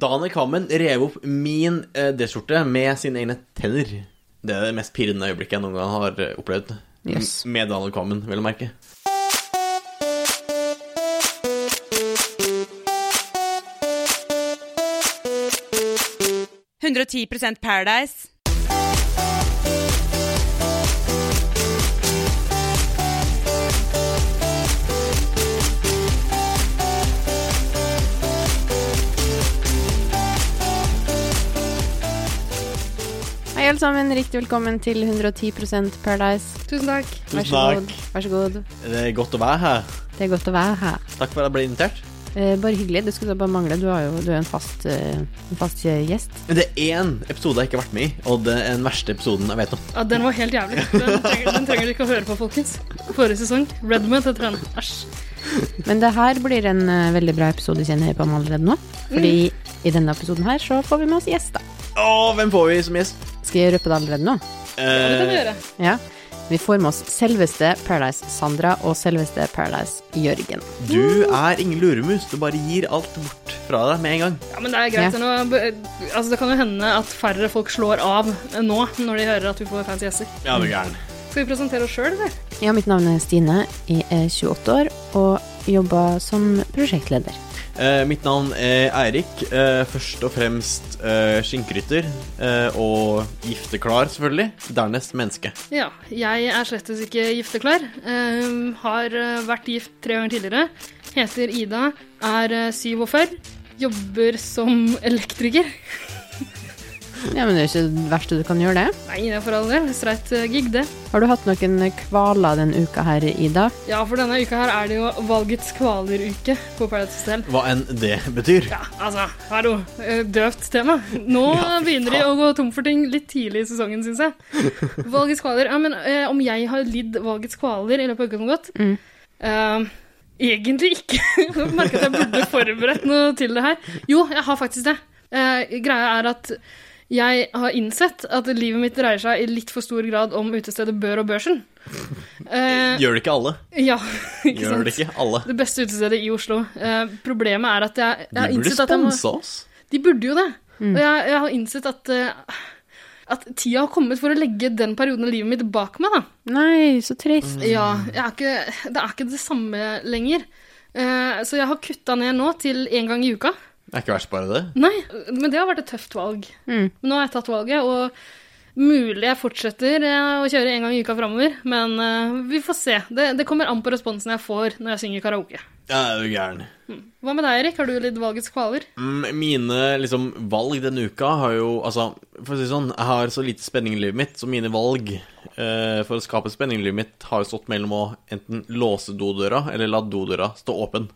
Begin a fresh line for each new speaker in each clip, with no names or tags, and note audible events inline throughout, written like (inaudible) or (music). Danek Hammen rev opp min eh, D-skjorte med sine egne tenner. Det er det mest pirrende øyeblikket jeg noen gang har eh, opplevd.
Yes.
M- Med Danek Hammen, vel å merke.
Paradise.
Hei, alle sammen. Riktig velkommen til 110 Paradise.
Tusen takk.
Vær
Tusen
så god.
takk.
Vær så god.
Det er godt å være her.
Det er godt å være her.
Takk for at jeg ble invitert.
Eh, bare hyggelig. Det skulle da bare mangle. Du er jo du er en, fast, eh, en fast eh, gjest.
Men det er én episode jeg ikke har vært med i, og det er den verste episoden jeg vet om.
Ja, den var helt jævlig. Den trenger, den trenger dere ikke å høre på, folkens. Forrige sesong. Redmond heter den. Æsj.
Men det her blir en eh, veldig bra episode, kjenner jeg på meg allerede nå. Fordi i denne episoden her så får vi med oss gjester.
Å, hvem får vi som gjest?
Skal jeg røpe det allerede nå?
Ja, det kan du
Eh,
gjøre.
Ja. Vi får med oss selveste Paradise Sandra og selveste Paradise Jørgen.
du er ingen luremus. Du bare gir alt bort fra deg med en gang.
Ja, men det er greit. Nå, altså, det kan jo hende at færre folk slår av nå, når de hører at vi får fancy gjester.
Ja, du gæren.
Skal vi presentere oss sjøl, eller?
Ja, mitt navn er Stine. Jeg er 28 år og jobber som prosjektleder.
Eh, mitt navn er Eirik. Eh, først og fremst eh, skinnkrytter. Eh, og gifteklar, selvfølgelig. Dernest menneske.
Ja. Jeg er slettes ikke gifteklar. Ehm, har eh, vært gift tre ganger tidligere. Heter Ida. Er eh, 47. Jobber som elektriker.
Ja, men det er jo ikke det verste du kan gjøre, det.
Nei, det er for all del. Streit eh, gig, det.
Har du hatt noen kvaler denne uka her, Ida?
Ja, for denne uka her er det jo valgets kvaleruke på Paradise Hotel.
Hva enn det (laughs) betyr.
Ja, altså, hallo. eh, Døvt tema. Nå begynner de å gå tom for ting litt tidlig i sesongen, syns jeg. Valgets kvaler. Ja, men eh, om jeg har lidd valgets kvaler i løpet av uka som har gått?
Mm.
Eh, egentlig ikke. (laughs) Nå merker jeg at jeg burde forberedt noe til det her. Jo, jeg har faktisk det. Eh, greia er at jeg har innsett at livet mitt dreier seg i litt for stor grad om utestedet Bør og Børsen. Eh,
Gjør det ikke alle.
ja, (laughs) ikke sant.
Gjør det ikke alle.
Det beste utestedet i Oslo. Eh, problemet er at jeg, jeg
De
har
burde
innsett at jeg må
sponsa oss.
De burde jo det. Og jeg, jeg har innsett at, eh, at tida har kommet for å legge den perioden av livet mitt bak meg, da.
Nei, så trist.
Mm.
Ja, jeg er ikke, det er ikke det samme lenger. Eh, så jeg har kutta ned nå til én gang i uka.
Det er ikke verst, bare det.
Nei, men det har vært et tøft valg.
Mm.
Men nå har jeg tatt valget, og mulig jeg fortsetter eh, å kjøre én gang i uka framover. Men eh, vi får se. Det, det kommer an på responsen jeg får når jeg synger karaoke.
Ja, du gæren.
Hva med deg, Erik? Har du lidd valgets kvaler?
Mm, Mine liksom, valg denne uka har jo Altså, for å si det sånn, jeg har så lite spenning i livet mitt, så mine valg eh, for å skape spenning i livet mitt har jo stått mellom å enten låse dodøra eller la dodøra stå åpen.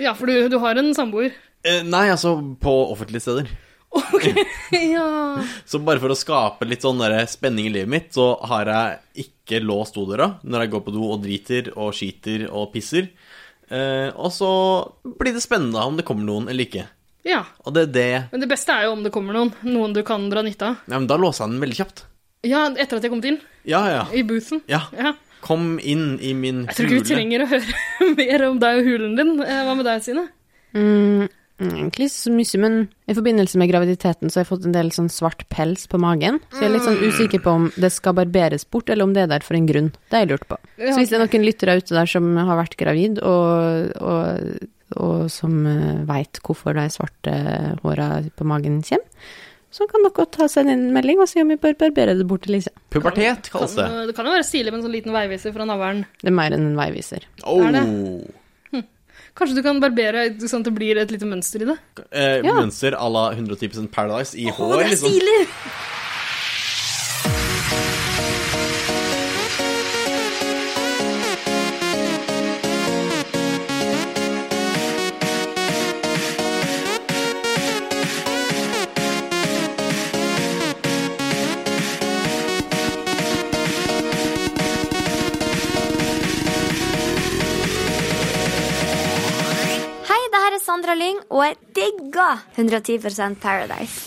Ja, for du, du har en samboer.
Eh, nei, altså på offentlige steder.
(laughs) ja.
Så bare for å skape litt sånn der spenning i livet mitt, så har jeg ikke låst dodøra når jeg går på do og driter og skiter og pisser. Eh, og så blir det spennende om det kommer noen eller ikke.
ja.
Og det er det
Men det beste er jo om det kommer noen. Noen du kan dra nytte av.
Ja, men da låser jeg den veldig kjapt.
Ja, etter at jeg kom inn.
Ja, ja.
I boothen.
ja.
Ja.
Kom inn i min
Jeg tror ikke vi trenger å høre (laughs) mer om deg og hulen din. Eh, Hva med deg, Sine?
Mm, egentlig så mye, men i forbindelse med graviditeten så har jeg fått en del sånn svart pels på magen. Så jeg er litt sånn usikker på om det skal barberes bort, eller om det er der for en grunn. Det har jeg lurt på. Så hvis det er noen lyttere ute der som har vært gravid, og, og, og som eh, vet hvorfor de svarte håra på magen kommer, så kan dere godt ta seg en melding og se om vi bør barbere det bort eller ikke.
Pubertet kalles det.
Kan- Det kan jo være stilig med en sånn liten veiviser fra navlen.
Det er mer enn en veiviser.
Oh.
Er Kanskje du kan barbere sånn at det blir et lite mønster i det?
Eh,
Ja.
Mønster à la 110 Paradise i hår, liksom.
stilig!
Hei, det her er Sandra Lyng, og jeg digger 110 Paradise.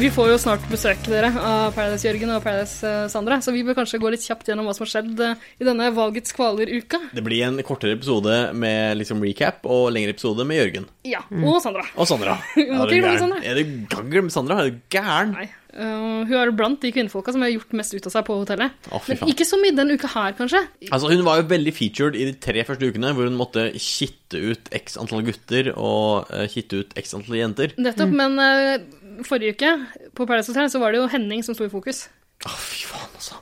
Vi får jo snart besøk til dere av Paradise-Jørgen og Paradise-Sandra, så vi bør kanskje gå litt kjapt gjennom hva som har skjedd eh, i denne valgets kvaler-uka.
Det blir en kortere episode med liksom recap og lengre episode med Jørgen.
Ja, og Sandra.
Og Sandra.
(laughs) må
er du
ikke glemme
gæren?
Sandra.
Er du gagger med Sandra? Er du gæren?
Nei. Eh, hun er blant de kvinnefolka som har gjort mest ut av seg på hotellet.
Å, fy
Men
faen.
ikke så mye denne uka her, kanskje.
Altså, hun var jo veldig featured i de tre første ukene, hvor hun måtte kitte ut x antall gutter og eh, kitte ut x antall jenter.
Nettopp, men eh, forrige uke på Paradise Hotel så var det jo Henning som sto i fokus.
Å, fy faen, altså.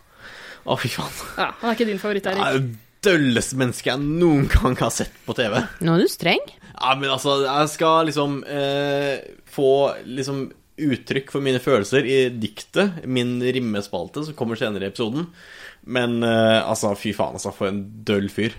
Å, fy faen.
Ja, Han er ikke din favoritt,
Det
Erik.
er det dølleste mennesket jeg noen gang har sett på TV.
Nå er du streng.
Ja, men altså, jeg skal liksom eh, få liksom uttrykk for mine følelser i diktet, min rimmespalte, som kommer senere i episoden. Men eh, altså, fy faen, altså, for en døll fyr.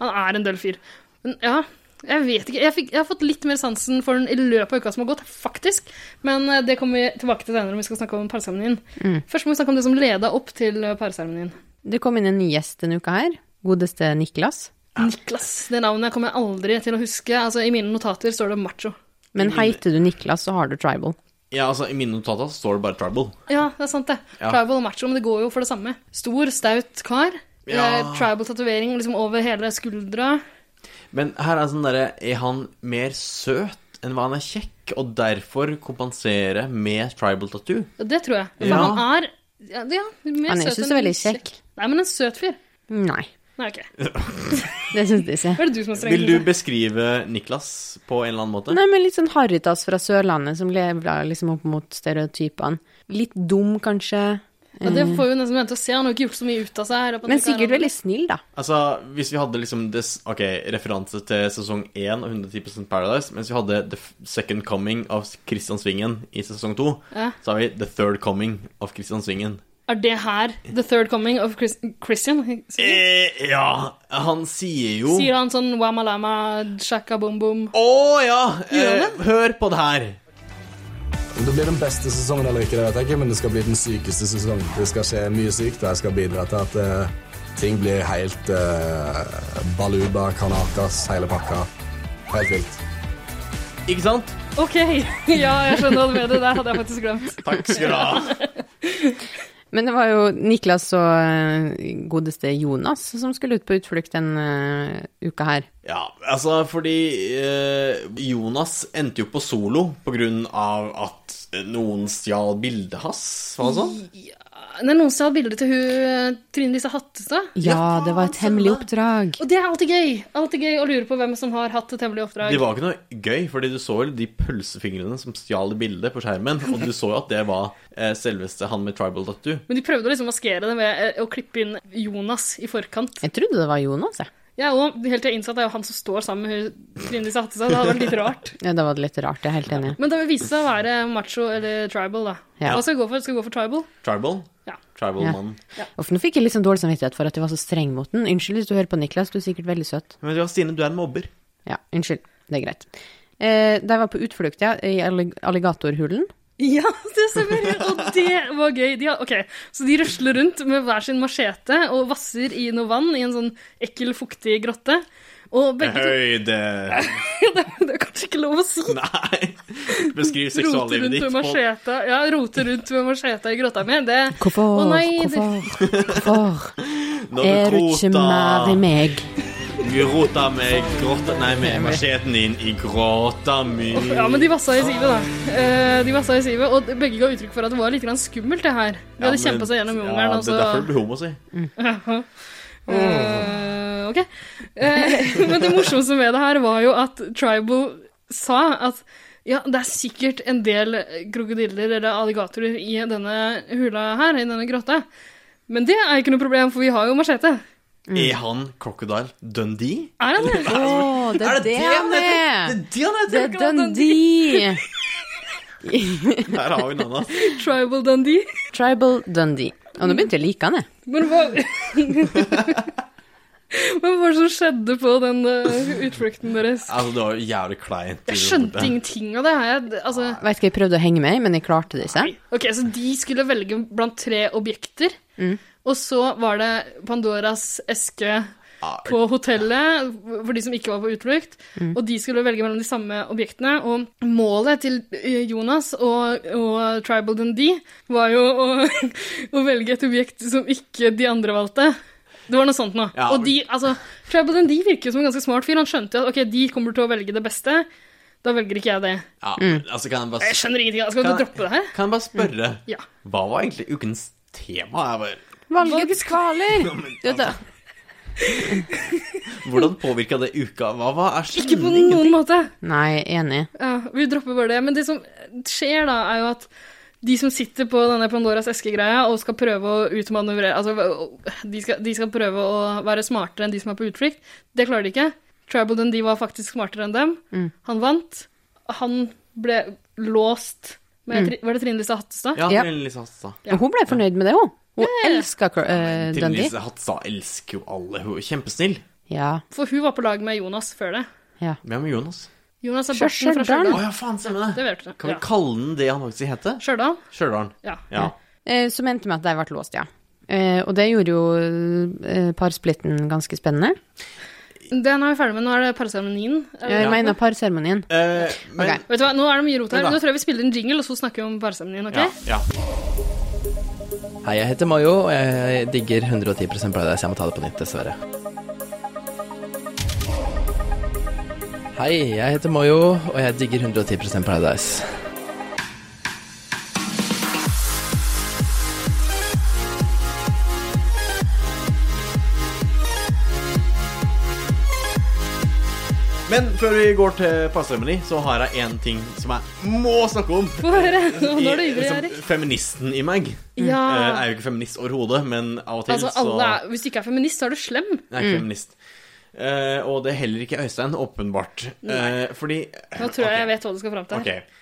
Han er en døll fyr. Men ja, jeg vet ikke. Jeg, fikk, jeg har fått litt mer sansen for den i løpet av uka som har gått, faktisk. Men eh, det kommer vi tilbake til senere når vi skal snakke om parseremonien.
Mm.
Først må vi snakke om det som leda opp til eh, parseremonien.
Det kom inn en ny gjest denne uka her. Godeste Niklas.
Niklas. Det navnet kommer jeg aldri til å huske. Altså, I mine notater står det macho.
Men heiter du Niklas, så har du tribal.
Ja, altså, I mine notater så står det bare 'trouble'.
Ja, det er sant, det.
Ja.
Tribal og macho, men det går jo for det samme. Stor, staut kar.
Ja.
Eh, Tribal-tatovering liksom over hele skuldra.
Men her er sånn derre Er han mer søt enn hva han er kjekk, og derfor kompensere med tribal tattoo?
Det tror jeg. For
Ja.
han er ja, det- ja, mer
Han er
søt
ikke
enn
så veldig kjekk.
Nei, men en søt fyr.
Nei,
Nei, ok.
det syns jeg ikke.
Hva er det du som er streng?
Vil du beskrive Niklas på en eller annen måte?
Nei, men litt sånn harrytass fra Sørlandet som lever liksom opp mot stereotypene. Litt dum, kanskje,
Ja, det får vi jo nesten vente og se. Han har jo ikke gjort så mye ut av seg. her. og på
men
at han ikke
sikkert
er-
veldig snill, da.
Altså, hvis vi hadde liksom des, Ok, referanse til sesong 1 og 110 Paradise, mens vi hadde The F- Second Coming av Christian Svingen i sesong 2,
Ja.
så har vi The Third Coming av Christian Svingen.
Er det her The Third Coming of Chris Christian? Sier
Eh, ja, han sier jo Å
han sånn wamalama, shaka boom boom?
ja!
Gjør
Eh,
han
hør på det her.
Om det blir den beste sesongen eller ikke, det vet jeg ikke, men det skal bli den sykeste sesongen. Det skal skje mye sykt, og jeg skal bidra til at eh, ting blir helt eh, baluba, kanakas, hele pakka. Helt vilt.
Ikke sant?
OK, (laughs) ja, jeg skjønner hva du mener. Det der hadde jeg
(laughs)
faktisk glemt.
Takk skal du ha.
Men det var jo Niklas og eh, godeste Jonas som skulle ut på utflukt den eh, uka her.
Ja, altså fordi eh, Jonas endte jo på solo på grunn av at eh, noen stjal bildet hans, var det sånn?
Det er noen som har bilde til hun eh, Trine Lise Hattestad.
Ja, det var et hemmelig oppdrag.
Og det er alltid gøy Alltid gøy å lure på hvem som har hatt et hemmelig oppdrag.
Det var ikke noe gøy, fordi du så jo de pølsefingrene som stjal det bildet på skjermen, og du så jo at det var eh, selveste han med tribal tattoo.
Men de prøvde å liksom maskere det ved eh, å klippe inn Jonas i forkant.
Jeg trodde det var Jonas, jeg.
Jeg er jo helt til jeg innså at det er jo han som står sammen med hun Trine Lise Hattestad. Det hadde vært litt rart.
Ja, da var det litt rart, jeg er helt enig.
Men det vil vise seg å være macho eller tribal, da.
Ja.
Hva skal vi gå for? Skal vi gå for tribal?
Tribal?
Ja.
Tribal-mannen.
Uff, nå fikk jeg litt sånn dårlig samvittighet for at jeg var så streng mot den. Unnskyld hvis du hører på Niklas, du er sikkert veldig søt.
Men vet du hva, Stine, du er en mobber.
Ja, unnskyld. Det er greit. Eh, da jeg var på utflukt, ja, i allig- alligatorhulen
Ja, det stemmer! Og det var gøy. De, har- ok, Så de rusler rundt med hver sin machete og vasser i noe vann i en sånn ekkel, fuktig grotte. Og begge to
Høyde
det, (laughs) det er kanskje ikke lov å si!
(laughs) Nei! Beskriv
Rote
seksuallivet
rundt
ditt
med
på
machete Ja, rote rundt med machete i grotta mi. Det
Hvorfor?
Å nei, det-
hvorfor? (laughs) Hvorfor?
Når
Er du ikke mer i meg?
Du rota med grotta Nei, med macheten din i grotta mi.
Ja, men de vassa i sivet, da. Eh, De vassa i sivet, Og begge ga uttrykk for at det var litt grann skummelt, det her. De hadde kjempa seg gjennom jungelen.
Ja, det er
altså. og så-
derfor du blir homo, si. (laughs)
Eh, ok. Eh, men det morsomste med det her var jo at Tribal sa at ja, det er sikkert en del krokodiller eller alligatorer i denne hula her, i denne grotta. Men det er ikke noe problem, for vi har jo machete.
Mm.
Er han Crocodile Dundee?
Er han det?
Å, det er det han
heter? Det er
er!
det han
Det
heter!
er Dundee!
Der har vi den, ass.
Tribal Dundee.
Tribal Dundee. Og nå begynte jeg å like han, jeg.
Men hva (laughs) Men hva var det som skjedde på den eh, utflukten deres?
Altså, det var jo jævlig kleint.
Jeg skjønte ingenting av det her. Jeg- Altså,
Vet ikke, jeg prøvde å henge med, men jeg klarte det ikke.
Ok, så de skulle
Mm.
velge blant tre objekter, og så var det Pandoras eske,
Ah,
på hotellet, for de som ikke var på utflukt.
Mm.
Og de skulle velge mellom de samme objektene. Og målet til eh, Jonas og, og Tribal Dundee var jo å, (laughs) å velge et objekt som ikke de andre valgte. Det var noe sånt nå.
Ja.
Og de, altså, Tribal Dundee virker jo som en ganske smart fyr. Han skjønte jo at ok, de kommer til å velge det beste. Da velger ikke jeg det.
Ja, men
Mm.
altså kan jeg bare
Jeg skjønner ingenting. Skal
Kan-
du droppe det her? Mm.
Kan jeg bare spørre
Ja.
Hva var egentlig ukens tema? Jeg bare,
Valgets kvaler! Du vet det.
hvordan påvirka det uka? Hva var er
Ikke på
stemningen?
noen måte.
Nei, enig.
Ja, vi dropper bare det. Men det som skjer da, er jo at de som sitter på denne Pandoras eske-greia og skal prøve å utmanøvrere Altså, de skal, de skal prøve å være smartere enn de som er på utflukt. Det klarer de ikke. Tribal Dundee var faktisk smartere enn dem. Han vant. Han ble låst med Tri- Var det Trine Lise Hattestad?
Ja,
Ja.
Trine Lise Hatsa.
Og Hun ble fornøyd med det, hun. Hun elska uh,
Trine
Dundee.
Lise Hatsa elsker jo alle. Hun er kjempesnill.
Ja.
For hun var på lag med Jonas før det.
ja.
Hvem er Jonas?
Jonas er
Sjø-
borten
Stjørdal.
fra
Å
Stjørdal.
ja, faen, stemmer
Det
det.
vet du.
Kan vi
Ja.
kalle den det han faktisk heter?
Stjørdal?
Stjørdal.
Ja.
Ja.
Eh, som endte med at de ble låst, ja. Eh, og det gjorde jo eh, parsplitten ganske spennende.
Den er vi ferdig med. Nå er det eh, parseremonien. Er det
Jeg
Ja.
mener parseremonien.
Eh, men
Mm. Ok.
Vet du hva, Nå er det mye rot her.
Ja da.
Nå tror jeg vi spiller en jingle, og så snakker vi om parseremonien. ok?
ja,
(laughs)
ja.
Hei, jeg heter Mayo, og jeg digger 110 Paradise. Jeg må ta det på nytt, dessverre. Hei, jeg heter Mayo, og jeg digger 110 Paradise.
Men før vi går til passeremoni, så har jeg én ting som jeg må snakke om.
Få høre. (laughs) Nå nå er du
I-
ivrig,
liksom,
Erik.
feministen i meg.
Ja.
Eh, jeg er jo ikke feminist overhodet, men av og til
Altså, alle er, Mm. hvis du ikke er feminist, så er du slem.
så Jeg er ikke feminist. Eh, og det er heller ikke Øystein, åpenbart. Eh, fordi
Nå tror jeg jeg vet hva du skal fram til.
Ok.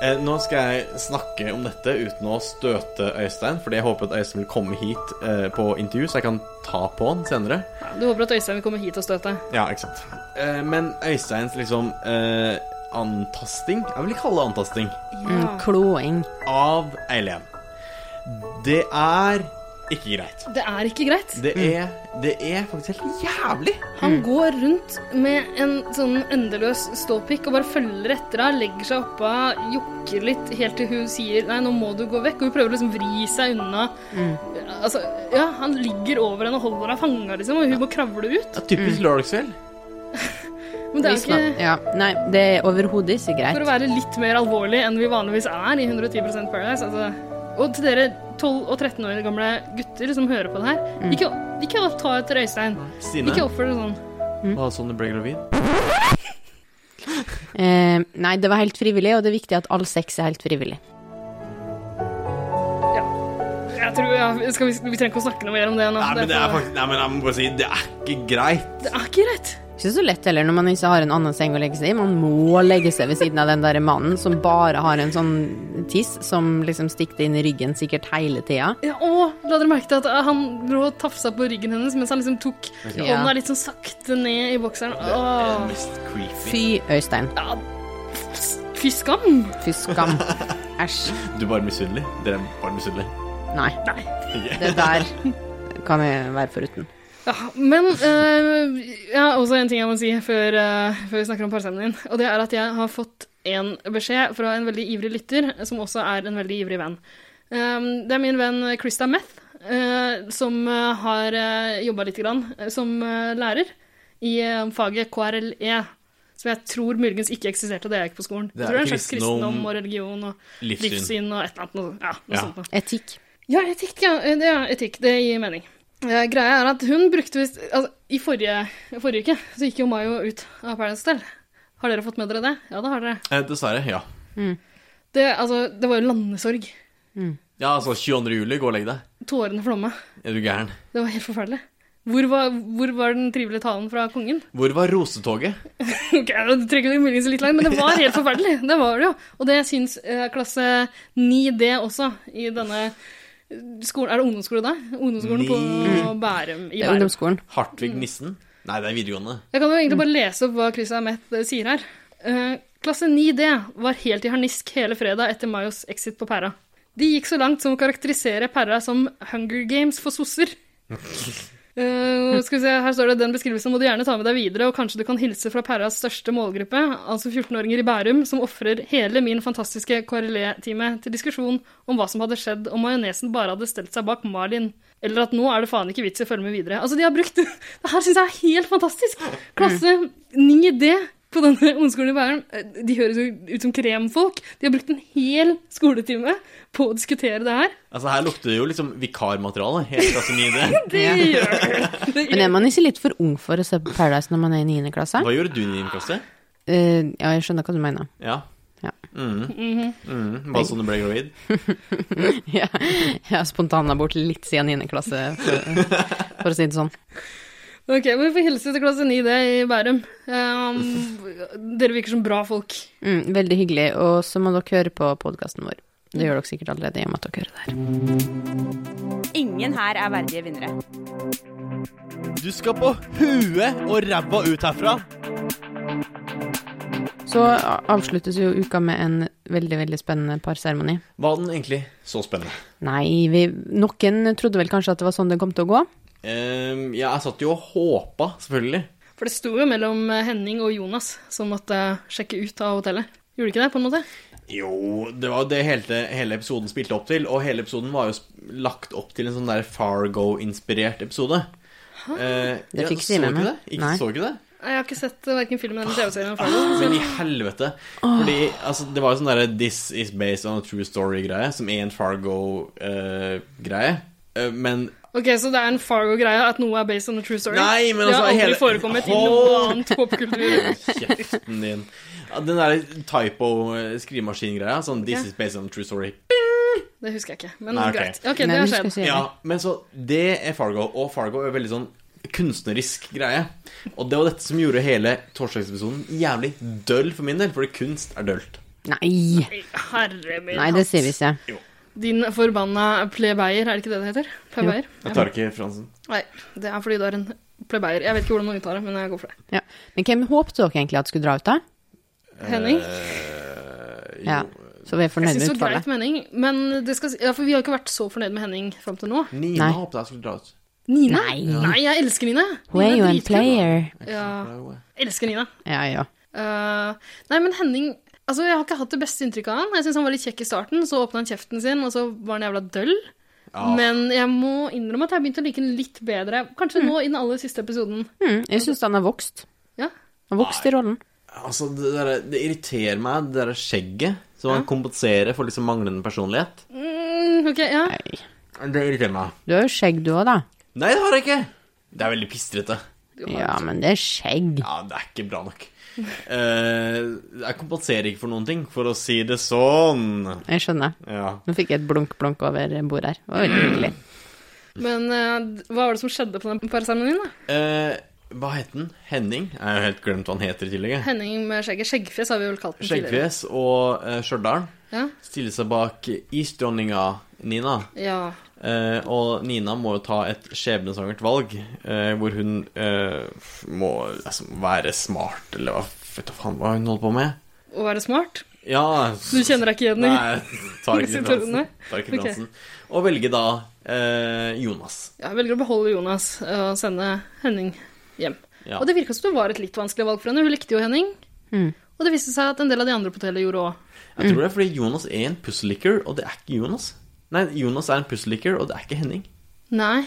Eh, Nå skal jeg snakke om dette uten å støte Øystein, fordi jeg håper at Øystein vil komme hit eh, på intervju, så jeg kan ta på han senere.
Du håper at Øystein vil komme hit og støte.
Ja, ikke sant. Eh, Men Øysteins liksom eh, antasting Jeg vil ikke kalle det antasting.
Mm, kloing.
Av ei elev. Det er ikke greit.
Det er ikke greit.
Det er, det er faktisk helt jævlig.
Han går rundt med en sånn endeløs ståpikk og bare følger etter henne, legger seg oppå henne, jokker litt helt til hun sier 'nei, nå må du gå vekk', og hun prøver å liksom vri seg unna.
Mm.
Altså, ja, han ligger over henne og holder henne fanga, liksom, og hun må kravle ut.
Det er typisk lørdagskveld.
Men det er
Hvis man-
ikke
Ja. Nei, det er overhodet ikke
For
greit.
å være litt mer alvorlig enn vi vanligvis er i 110 Paradise. Altså. Og til dere 12 og 13 år gamle gutter som hører på det her,
Mm.
ikke, ikke ta etter Øystein.
Stine,
Ikke oppfør dere sånn.
var det sånn du ble gravid?
Eh, nei, det var helt frivillig, og det er viktig at all sex er helt frivillig.
Jeg tror, ja, skal vi, vi trenger ikke å snakke noe mer om det nå.
Nei, men det er
for-
faktisk Nei, men jeg må bare si det er ikke greit.
det er ikke greit.
Ikke så lett heller når man ikke har en annen seng å legge seg i. Man må legge seg ved siden av den der mannen som bare har en sånn tiss som liksom stikker inn i ryggen sikkert hele tida.
Ja, og la dere merke til at eh, han lå og tafsa på ryggen hennes mens han liksom tok
Ja.
hånda litt sånn sakte ned i bokseren.
Det er
Åh.
mest creepy.
Fy, Øystein.
Ja, fy skam.
Fy skam. Æsj.
Du er bare misunnelig. Dere er bare misunnelige.
Nei. Det der kan jeg være foruten.
Ja, men eh, ja, også en ting jeg må si før, eh, før vi snakker om parseremonien. Og det er at jeg har fått en beskjed fra en veldig ivrig lytter, som også er en veldig ivrig venn. Eh, det er min venn Krista Meth, eh, som eh, har uh, jobba lite grann eh, som eh, lærer i eh, faget KRLE. E, Som jeg tror muligens ikke eksisterte da jeg gikk på skolen.
Det er
jeg tror det er en slags
kristendom-
kristendom og religion og
Livssyn.
livssyn og et eller annet. Noe, ja, noe
Ja.
sånt noe.
Etikk.
Ja, etikk, ja. Eh, Det er etikk. Det gir mening. Eh, greia er at hun brukte visst altså, I forrige, forrige uke så gikk jo Mayo ut av Paradise Hotel. Har dere fått med dere det? Ja, det har dere.
Eh, dessverre, ja.
Det, altså, det var jo landesorg.
Ja, altså 22. juli, gå og legg deg.
Tårene flomma.
Er du gæren?
Det var helt forferdelig. Hvor var, hvor var den trivelige talen fra kongen? (laughs)
Hvor var rosetoget?
Ok, nå trekker vi muligens litt langt, men det var helt forferdelig. Det var det jo. Og det syns eh, klasse 9D også i denne skolen. Er det ungdomsskole da? Ungdomsskolen på Bærum. I
Det er
Bærum.
ungdomsskolen.
Hartvig Nissen? Nei, det er videregående.
Jeg kan jo egentlig bare lese opp hva Chris Ahmet eh, sier her. Eh, klasse 9D var helt i harnisk hele fredag etter Mayos exit på pæra. De gikk så langt som å karakterisere Perra som Hunger Games for sosser. Eh, skal vi se, her står det den beskrivelsen må du gjerne ta med deg videre, og kanskje du kan hilse fra Perras største målgruppe, altså 14-åringer i Bærum, som ofrer hele min fantastiske KRLE-time til diskusjon om hva som hadde skjedd om majonesen bare hadde stelt seg bak Marlin. Eller at nå er det faen ikke vits i å følge med videre. Altså, de har brukt (laughs) Det her syns jeg er helt fantastisk! Klasse 9D på denne ungdomsskolen i Bærum. Eh, De høres jo ut som kremfolk. De har brukt en hel skoletime på å diskutere det her.
Altså, her lukter det jo liksom vikarmateriale. Helt klasse
(laughs)
9D.
Det gjør det.
Men er man ikke litt for ung for å se på Paradise når man er i 9. klasse?
Hva gjorde du i din klasse?
Eh, ja, jeg skjønner hva du mener.
Ja.
Ja.
Mhm. Mhm. Bare sånn du ble gravid?
Ja, jeg har spontanabort litt siden 9. klasse, for, for å si det sånn.
Ok, men vi får hilse til klasse 9D i Bærum. Um, dere virker som bra folk.
Mm, veldig hyggelig. Og så må dere høre på podkasten vår. Det gjør dere sikkert allerede i og med at dere hører det her.
Ingen her er verdige vinnere.
Du skal på huet og ræva ut herfra!
Så a- avsluttes jo uka med en veldig, veldig spennende parseremoni.
Var den egentlig så spennende?
Nei, vi, noen trodde vel kanskje at det var sånn det kom til å gå.
Ehm, ja, jeg satt jo og håpa, selvfølgelig.
For det sto jo mellom Henning og Jonas som måtte sjekke ut av hotellet. Gjorde ikke det, på en måte?
Jo, det var jo det hele, hele episoden spilte opp til, og hele episoden var jo sp- lagt opp til en sånn der Fargo-inspirert episode. Eh,
Det
ja,
fikk
så
ikke med
ikke
meg.
det? Ikke,
Nei.
Så ikke det?
Nei, Jeg har ikke sett eh, verken filmen eller TV-serien. om Fargo.
Men i helvete. Fordi altså, det var jo sånn derre 'This is based on a true story'-greie, som er en Fargo-greie. Eh, men
Ok, Så det er en Fargo-greie at noe er based on a true story?
Nei, men
det har
altså,
aldri
hele-
forekommet i noe
Hold-
annet popkultur.
Kjeften din. Ja, Den der typo-skrivemaskin-greia. Sånn 'This
Ok.
is based on a true story'.
Det husker jeg ikke. Men
Nei, ok.
greit. Ok,
Nei,
det har
vi skal
skjedd.
si det.
Ja, men så Det er Fargo, og Fargo er veldig sånn kunstnerisk greie. Og det var dette som gjorde hele torsdagsepisoden jævlig døll for min del, fordi kunst er dølt.
Nei!
Herre min
Nei, det sier vi ikke.
Din forbanna plebeier, er det ikke det det heter? Plebeier?
Jeg tar ikke Fransen.
Nei, det er fordi du er en plebeier. Jeg vet ikke hvordan man uttaler det, men jeg går for det.
Ja. Men hvem håpte dere egentlig at skulle dra ut, da?
Henning?
Eh, jo.
Ja. Så vi er
Jeg
fornøyd
syns
med
det var greit
utfallet.
med Henning, men det skal, si- ja, for vi har ikke vært så fornøyd med Henning fram til nå.
Nina
Nei.
håpet jeg skulle dra ut.
Nina?
Nei.
jeg elsker Nina.
Hun er jo en
dritkul.
player.
Ja,
Ah.
elsker Nina.
Ja, ja.
Eh, nei, men Henning Altså, Jeg har ikke hatt det beste inntrykket av han. Jeg synes han var litt kjekk i starten, så åpna han kjeften sin, og så var han jævla døll.
Ja.
Men jeg må innrømme at jeg begynte å like han litt bedre. Kanskje nå i den aller siste episoden.
Mm, jeg syns han har vokst.
Ja.
Han har vokst i rollen.
Altså, det, der, det irriterer meg, det derre skjegget som man kompenserer for liksom manglende personlighet.
Mm, ok, ja.
Nei.
Det irriterer meg.
Du har jo skjegg, du òg, da.
Nei, det har jeg ikke! Det er veldig pistrete.
Ja, men det er skjegg.
Ja, det er ikke bra nok. Eh, jeg kompenserer ikke for noen ting, for å si det sånn.
Jeg skjønner.
Ja.
Nå fikk jeg et blunk-blunk over bordet her. Det var veldig hyggelig.
Men eh, hva var det som skjedde på den parseremonien? da?
Eh, hva het den? Henning? Jeg har jo helt glemt hva han heter i tillegg. jeg.
Henning med skjegget. Skjeggfjes har vi vel kalt den tidligere.
Skjeggfjes og uh, Stjørdal
Ja.
stiller seg bak isdronninga Nina.
ja.
Eh, og Nina må jo ta et skjebnesvangert valg, eh, hvor hun eh, f- må altså, være smart, eller hva vet du faen hva hun holder på med.
Å være smart?
Ja
Du kjenner deg ikke igjen? (laughs) i-
Nei, tar ikke
Sitter du
referansen.
med?
Tar ikke
Ok.
referansen. Og velger da eh, Jonas.
Ja, jeg velger å beholde Jonas eh, og sende Henning hjem.
Ja.
Og det virka som det var et litt vanskelig valg for henne. Hun likte jo Henning. Og det viste seg at en del av de andre på hotellet gjorde òg.
Jeg tror det er fordi Jonas er en pusselicker, og det er ikke Jonas. Nei, Jonas er en pusselicker, og det er ikke Henning.
Nei.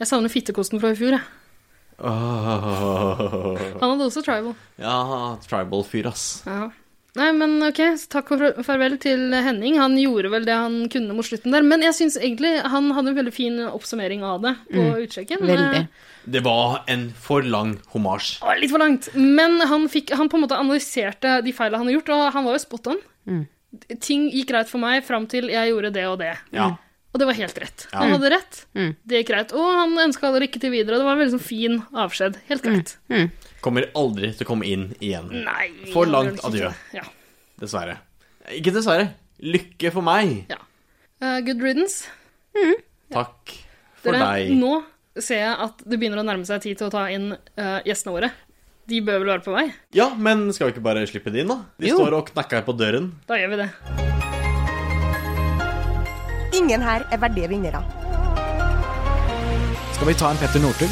Jeg savner fittekosten fra i fjor, jeg.
Åh.
Han hadde også tribal.
Ja, tribal-fyr, ass.
Ja. Nei, men ok, så takk og farvel til Henning. Han gjorde vel det han kunne mot slutten der. Men jeg syns egentlig han hadde en veldig fin oppsummering av det på utsjekken.
Veldig.
Eh,
Det var en for lang homasj.
Det var litt for langt. Men han, fikk, han på en måte analyserte de feilene han har gjort, og han var jo spot on.
Mm.
Ting gikk greit for meg fram til jeg gjorde det og det.
Ja.
Og det var helt rett.
Ja.
Han hadde rett.
Mm.
Det gikk greit. Og han ønska alle lykke til videre. og Det var en veldig sånn fin avskjed. Helt
Mm.
greit.
Kommer aldri til å komme inn igjen.
Nei.
For
han
langt
gjør det ikke.
adjø.
Ja.
Dessverre. Ikke dessverre. Lykke for meg.
ja. Eh, good riddance.
Takk for
Dere,
deg.
nå ser jeg at det begynner å nærme seg tid til å ta inn eh, gjestene våre. De bør vel være på vei?
Ja, men skal vi ikke bare slippe det inn, da? De
Jo.
står og knakker på døren.
Da gjør vi det.
Ingen her er verdige vinnere.
Skal vi ta en Petter Northug?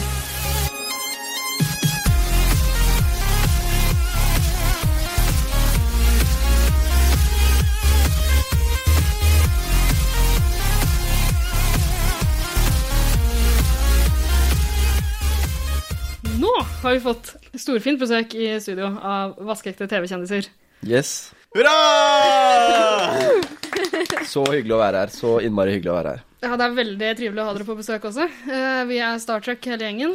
Nå har vi fått storfint besøk i studio av vaskeekte TV-kjendiser.
Yes.
(laughs)
Hurra!
Så hyggelig å være her. Så innmari hyggelig å være her.
Ja, det er veldig trivelig å ha dere på besøk også. Eh, Vi er Star Trek hele gjengen.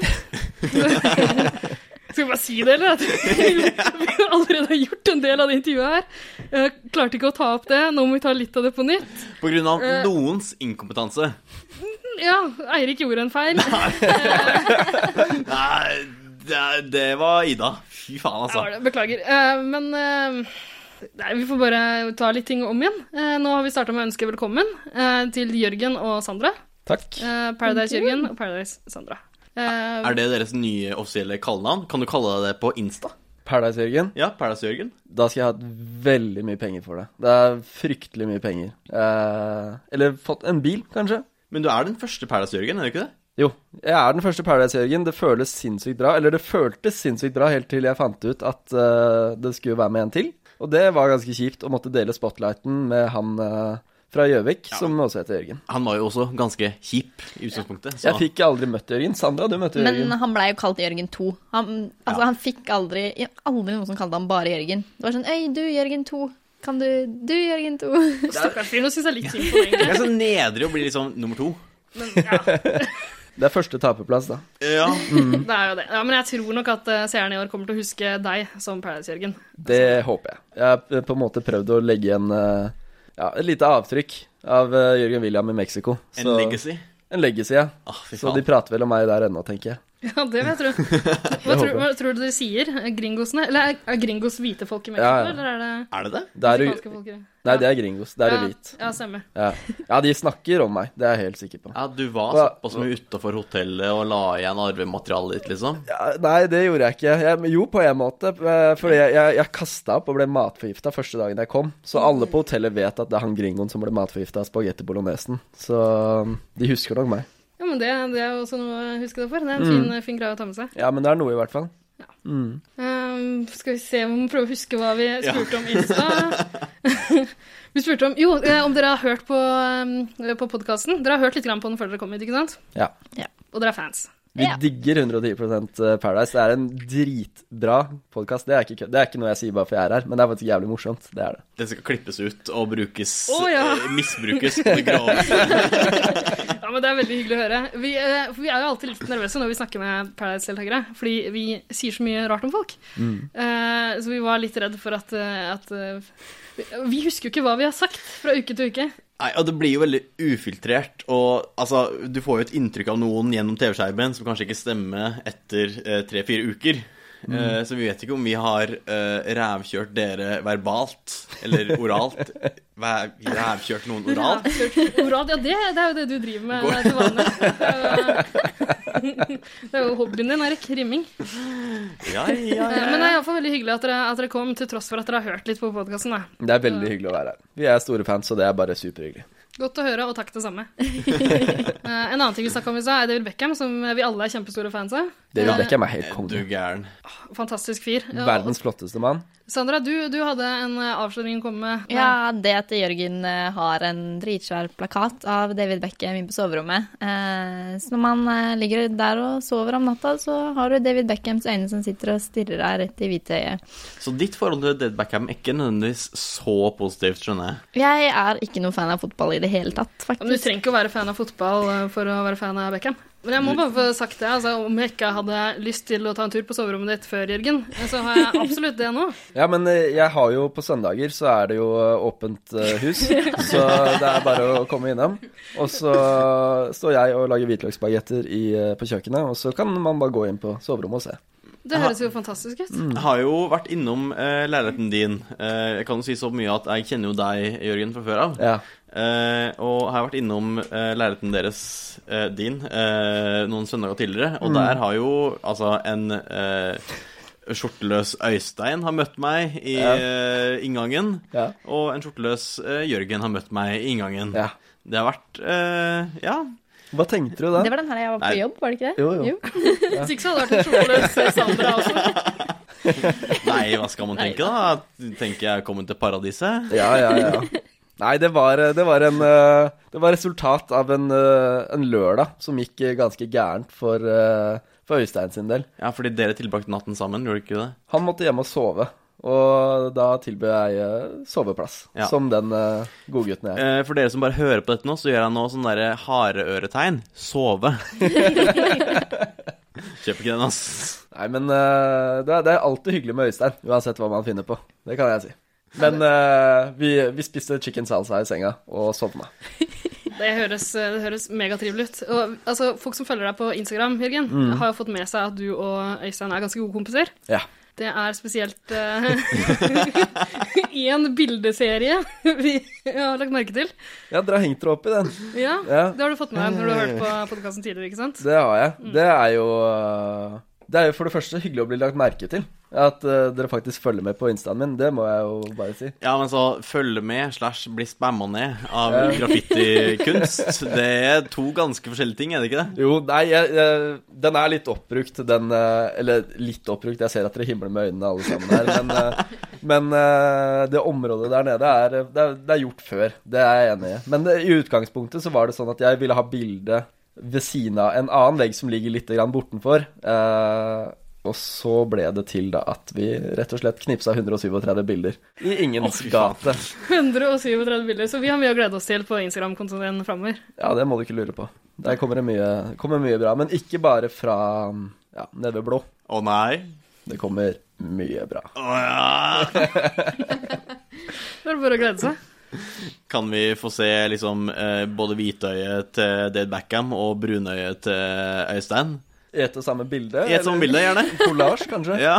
Skal vi bare si det, eller? At vi vi allerede har gjort en del av det intervjuet her. Eh, Klarte ikke å ta opp det. Nå må vi ta litt av det på nytt.
På grunn av
Eh.
noens inkompetanse.
Ja, Eirik gjorde en feil.
Nei, det, det var Ida. Fy faen,
Ja,
altså.
det- Beklager. Eh, men eh, nei, vi får bare ta litt ting om igjen. Eh, nå har vi starta med å ønske velkommen eh, til Jørgen og Sandra.
Takk.
Eh, Paradise Jørgen og Paradise Sandra. Eh,
Er det deres nye offisielle kallenavn? Kan du kalle deg det på Insta?
Paradise, Jørgen.
Ja, Paradise Jørgen.
Da skal jeg ha hatt veldig mye penger for det. Det er fryktelig mye penger. Eh, eller fått en bil, kanskje.
Men du er den første Paradise Jørgen, er du ikke det?
Jo, jeg er den første Paradise-Jørgen. Det føles sinnssykt bra. Eller det føltes sinnssykt bra helt til jeg fant ut at eh, det skulle være med en til. Og det var ganske kjipt å måtte dele spotlighten med han eh, fra Gjøvik, som også heter Jørgen.
Han var jo også ganske kjip i utgangspunktet. Så.
Jeg fikk aldri møtt Jørgen. Sandra, du møtte
Men
Jørgen.
han blei jo kalt Jørgen 2. Han, altså,
Ja.
han fikk aldri Aldri noen som kalte han bare Jørgen. Det var sånn Øy, du, Jørgen 2. Kan du Du, Jørgen 2. (laughs)
Stakkars fyr. Nå syns jeg litt synd på deg, egentlig.
Jeg er så nedrig å bli liksom nummer to.
Det er første taperplass, da.
Ja,
Det er jo det. Ja, men jeg tror nok at eh, seerne i år kommer til å huske deg som Paradise Jørgen. (laughs)
Det håper jeg. Jeg har p- på en måte prøvd å legge igjen eh, ja, et lite avtrykk av eh, Jørgen William i Mexico.
En
Så-
legacy.
En legacy, ja.
Ah, fy
Så
faen.
de prater vel om meg der ennå, tenker jeg.
Ja, det vil jeg
(laughs)
tro. Hva, tror, hva tror du dere sier? eh, Gringosene? Eller er, er gringos hvite folk i Mexico,
Ja, ja.
eller er det
Er det det?
Det er,
meksikanske
jo-
folk? i det?
nei, det er gringos. Det er
ja,
hvit.
Ja, stemmer.
Ja. ja, de snakker om meg, det er jeg helt sikker på.
Ja, du var
Hva-
såpass mye utafor hotellet og la igjen arvematerialet ditt, liksom?
Ja, nei, det gjorde jeg ikke. Jeg, jo, på en måte. eh, For jeg, jeg, jeg kasta opp og ble matforgifta første dagen jeg kom. Så alle på hotellet vet at det er han gringoen som ble matforgifta av spagetti bolognesen. Så um, de husker nok meg.
Ja, men det, det er jo også noe å huske det for. Det er
Mm.
en fin, fin greie å ta med seg.
Ja, men det er noe, i hvert fall.
Ehm, skal vi se, vi må prøve å huske hva vi spurte om i stad.
(laughs)
(laughs) vi spurte om Jo, eh, om dere har hørt på, ehm, på podkasten. Dere har hørt litt grann på den før dere kom hit, ikke sant?
Ja.
Ja.
Og dere er fans.
Vi
Ja.
digger 110 eh, Paradise. Det er en dritbra podkast. Det, er ikke kø- det er ikke noe jeg sier bare for jeg er her, men det er faktisk jævlig morsomt. Det er det.
Det skal klippes ut og brukes
Å, ja.
eh, Misbrukes på det groveste.
Ja, men Det er veldig hyggelig å høre. Vi, eh, for vi er jo alltid litt nervøse når vi snakker med Paradise-deltakere, fordi vi sier så mye rart om folk. Eh, så vi var litt redd for at, eh, at eh, vi- Vi husker jo ikke hva vi har sagt fra uke til uke.
(laughs) Nei, og det blir jo veldig ufiltrert, og altså, du får jo et inntrykk av noen gjennom TV-skjermen som kanskje ikke stemmer etter eh, tre-fire uker.
Mm.
Eh, så vi vet ikke om vi har eh, rævkjørt dere verbalt, eller
(laughs)
oralt. Hva er- vi Rævkjørt noen oralt?
Oral, ja, det, det er jo det du driver med
Går-
til vanlig. Det er jo- Det er jo hobbyen din, Erik. Rimming.
Ja, ja,
Eh, Men det er iallfall veldig hyggelig at dere, at dere kom, til tross for at dere har hørt litt på podkasten.
Det er veldig hyggelig å være her. Vi er store fans, så det er bare superhyggelig.
Godt å høre, og takk
(laughs)
det samme. Eh, En annen ting vi snakka om i stad, er David Beckham, som vi alle er kjempestore fans av.
David
Eh,
Beckham er helt
Du
konge.
gæren.
Fantastisk fyr. Ja, og-
Verdens flotteste mann.
Sandra, du, du hadde en eh, avsløring å komme med.
Ja, det at Jørgen eh, har en dritsvær plakat av David Beckham inne på soverommet. Eh, Så når man eh, ligger der og sover om natta, så har du David Beckhams øyne som sitter og stirrer deg rett i hvite øyet.
Så ditt forhold til Dead Backham er ikke nødvendigvis så positivt, skjønner jeg.
Jeg er ikke noen fan av fotball i det hele tatt,
Ja, Men du
faktisk.
trenger ikke å være fan av fotball eh, for å være fan av Beckham. Men jeg må bare få sagt det, altså, om jeg ikke hadde lyst til å ta en tur på soverommet ditt før, Jørgen, eh, så har jeg absolutt det nå.
Ja, men eh, jeg har jo på søndager så er det jo eh, åpent eh,
(laughs)
hus, så det er bare å komme innom. Og så står jeg og lager hvitløksbagetter i, eh, på kjøkkenet, og så kan man bare gå inn på soverommet og se.
Det høres jo fantastisk ut.
Mm.
Jeg har jo vært innom eh, leiligheten din. Eh, jeg kan jo si så mye at jeg kjenner jo deg, Jørgen, fra før av.
Ja.
Eh, og jeg har vært innom eh, leiligheten deres, eh,
Mm.
din, eh, noen søndager tidligere. Og der har jo altså en eh, skjorteløs Øystein har møtt meg i
Ja.
eh, inngangen.
Ja.
Og en skjorteløs eh, Jørgen har møtt meg i inngangen.
Ja.
Det har vært eh, Ja.
Hva tenkte du da?
Det var den her jeg var på
Nei.
jobb, var det ikke det?
Jo, jo.
Hvis ikke så hadde det vært en skjorteløs Sandra også.
Nei, hva skal man tenke, da? Tenker jeg er kommet til paradiset?
Ja, ja, ja. Nei, det var, det var, en, eh, det var resultat av en, eh, en lørdag som gikk eh, ganske gærent for, eh, for Øystein sin del.
Ja, fordi dere tilbrakte natten sammen, gjorde dere ikke det?
Han måtte hjem og sove, og da tilbød jeg eh, soveplass,
Ja.
som den eh, godgutten jeg er.
Eh, For dere som bare hører på dette nå, så gjør jeg nå sånn derre hareøretegn. Sove. Kjøper ikke den, ass.
Nei, men eh, det, er, det er alltid hyggelig med Øystein, uansett hva man finner på. Det kan jeg si. Men eh, vi, vi spiste chicken salsa i senga og sovna.
Det høres, eh, det høres megatrivelig ut. Og, altså, folk som følger deg på Instagram, Jørgen, har jo fått med seg at du og Øystein er ganske gode kompiser.
Ja.
Det er spesielt (laughs) én bildeserie vi har lagt merke til.
Ja, dere har hengt dere opp i den.
Ja,
Ja.
Det har du fått med deg når du har hørt på podkasten tidligere, ikke sant?
Det har jeg. Det er jo øh, Det er jo for det første hyggelig å bli lagt merke til. At øh, dere faktisk følger med på instaen min, det må jeg jo bare si.
Ja, men så følge med slash bli spamma ned av graffitikunst. Det er to ganske forskjellige ting, er det ikke det?
Jo, nei, jeg, jeg, den er litt oppbrukt, den øh, Eller litt oppbrukt, jeg ser at dere himler med øynene alle sammen her. Men,
(laughs)
øh, men øh, det området der nede er øh, det, er det er gjort før. Det er jeg enig i. Men det, i utgangspunktet så var det sånn at jeg ville ha bilde ved siden av en annen vegg som ligger litt grann bortenfor. eh, og så ble det til da at vi rett og slett knipsa 137 bilder i ingens
fy faen.
gate.
137 bilder, så vi har mye å glede oss til på Instagram-kontoen din framover.
Ja, det må du ikke lure på. Der kommer det mye, kommer mye bra. Men ikke bare fra ja, nede ved blå.
Å nei.
Det kommer mye bra.
Å ja.
Det er bare å glede seg.
Kan vi få se liksom eh, både hvitøyet til Dade Backham og brunøyet til Øystein?
I ett og samme bilde.
I et sånt bilde, gjerne.
Collage, kanskje.
Ja.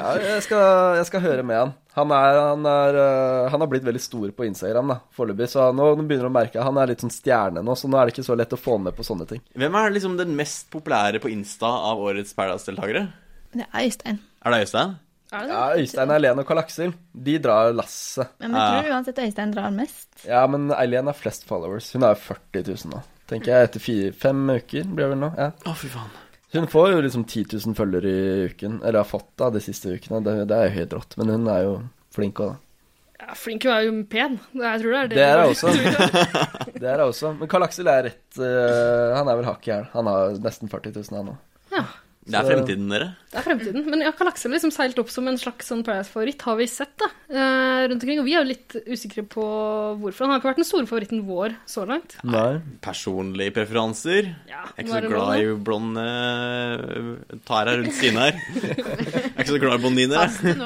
Ja, jeg, skal, jeg skal høre med han. Han, er, han, er, øh, han har blitt veldig stor på Instagram da, foreløpig, så nå nå begynner du å merke han er litt sånn stjerne nå, så nå er det ikke så lett å få han med på sånne ting.
Hvem er liksom den mest populære på Insta av årets Paradise-deltakere?
Det er Øystein.
Er det Øystein?
Er det det?
Ja, Øystein, Eileen og Karl Aksel, de drar lasset.
Men jeg tror uansett Øystein drar mest.
Ja, men Eileen har flest followers. Hun har jo 40 000 nå, tenker jeg, etter fire, fem uker blir det vel nå. Ja.
Å, fy faen.
Hun får jo liksom 10 000 følgere i uken, eller har fått da de siste ukene, det, det er jo helt rått, men hun er jo flink også da.
Ja, flink hun er jo pen. Jeg tror det er det.
Det er jeg også. (laughs) Det er jeg også. Men Karl Aksel er rett eh, Han er vel hakk i hæl. Han har nesten 40 000, han òg.
Det er fremtiden, dere.
Det er fremtiden. Men ja, Kalakse har liksom seilt opp som en slags sånn Paradise-favoritt, har vi sett, da. Eh, rundt omkring. Og vi er jo litt usikre på hvorfor. Han har ikke vært den store favoritten vår så langt.
Nei.
Personlige preferanser.
Ja,
Jeg er ikke så glad i blonde eh, Tara rundt siden her. Jeg er ikke så glad i blondiner. jeg.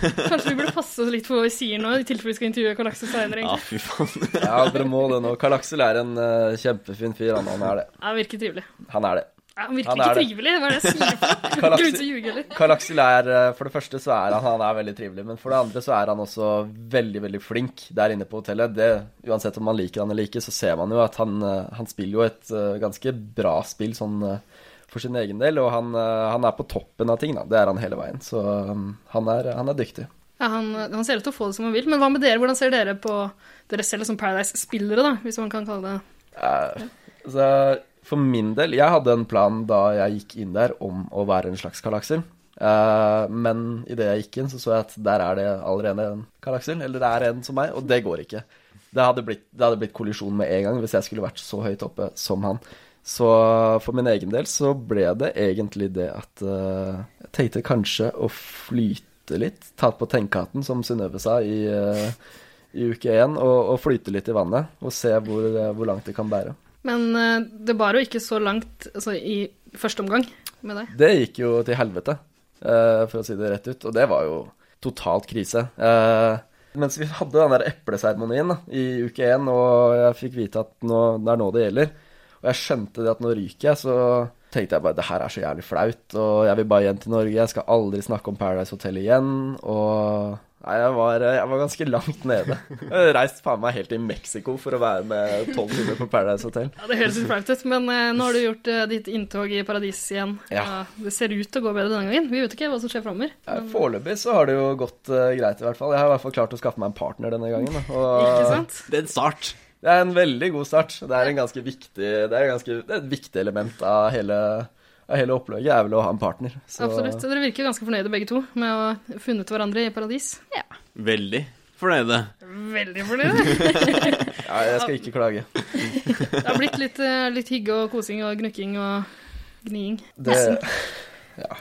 Kanskje vi burde passe oss litt for hva vi sier nå, i tilfelle vi skal intervjue Kalakse senere.
Ja,
egentlig.
Ah, fy faen. (laughs)
Ja, dere må det nå. Karl Aksel er en eh, kjempefin fyr. Han, han er det.
Ja, Han virker trivelig.
Han er det.
Ja, han virker
Han er
ikke
det.
trivelig, det var det jeg sier.
(laughs) Karl
Ikke ut
Aksel,
og ljuge heller.
Karl Aksel er eh, For det første så er han Han er veldig trivelig, men for det andre så er han også veldig, veldig flink der inne på hotellet. Det, uansett om man liker han eller ikke, så ser man jo at han, eh, han spiller jo et eh, ganske bra spill sånn eh, for sin egen del, og han, eh, han er på toppen av ting, da. Det er han hele veien. Så um, han, er, han er dyktig.
Ja, han, han ser ut til å få det som han vil. Men hva med dere? Hvordan ser dere på dere selv som Paradise-spillere, da, hvis man kan kalle det
Eh, Så for min del, jeg hadde en plan da jeg gikk inn der om å være en slags Karl Aksel. Eh, men idet jeg gikk inn, så så jeg at der er det allerede en Karl Aksel, eller det er en som meg, og det går ikke. Det hadde, blitt, det hadde blitt kollisjon med en gang hvis jeg skulle vært så høyt oppe som han. Så for min egen del så ble det egentlig det at eh, jeg tenkte kanskje å flyte litt. Ta på tenkehatten, som Synnøve sa i, eh, i uke én, og, og flyte litt i vannet. Og se hvor, eh, hvor langt det kan bære.
Men eh, det bar jo ikke så langt altså, i første omgang med deg.
Det gikk jo til helvete, eh, for å si det rett ut. Og det var jo totalt krise. Eh, mens vi hadde den der epleseremonien da, i uke én, og jeg fikk vite at nå, det er nå det gjelder, og jeg skjønte det at nå ryker jeg, så tenkte jeg bare det her er så jævlig flaut, og jeg vil bare hjem til Norge, jeg skal aldri snakke om Paradise Hotel igjen, og Nei, jeg var, eh, jeg var ganske langt nede. Jeg reiste faen meg helt til Mexico for å være med tolv timer på Paradise Hotel.
Ja, det høres litt flaut ut, men eh, nå har du gjort eh, ditt inntog i paradis igjen.
Ja.
det ser ut til å gå bedre denne gangen. Vi vet ikke hva som skjer framover.
Ja, Foreløpig så har det jo gått eh, greit, i hvert fall. Jeg har i hvert fall klart å skaffe meg en partner denne gangen. da.
Ikke
Og
sant?
Det er en start.
det er en veldig god start. Det er, en ganske viktig, det er, en ganske, det er et viktig element av hele, av hele opplegget, er vel å ha en partner. Så-
Absolutt. Dere virker ganske fornøyde begge to med å ha funnet hverandre i paradis.
Veldig fornøyde.
Veldig fornøyde.
Ja, jeg skal ikke klage.
(laughs) Det har blitt litt, eh, litt hygge og kosing og gnukking og gniing.
Det, ja.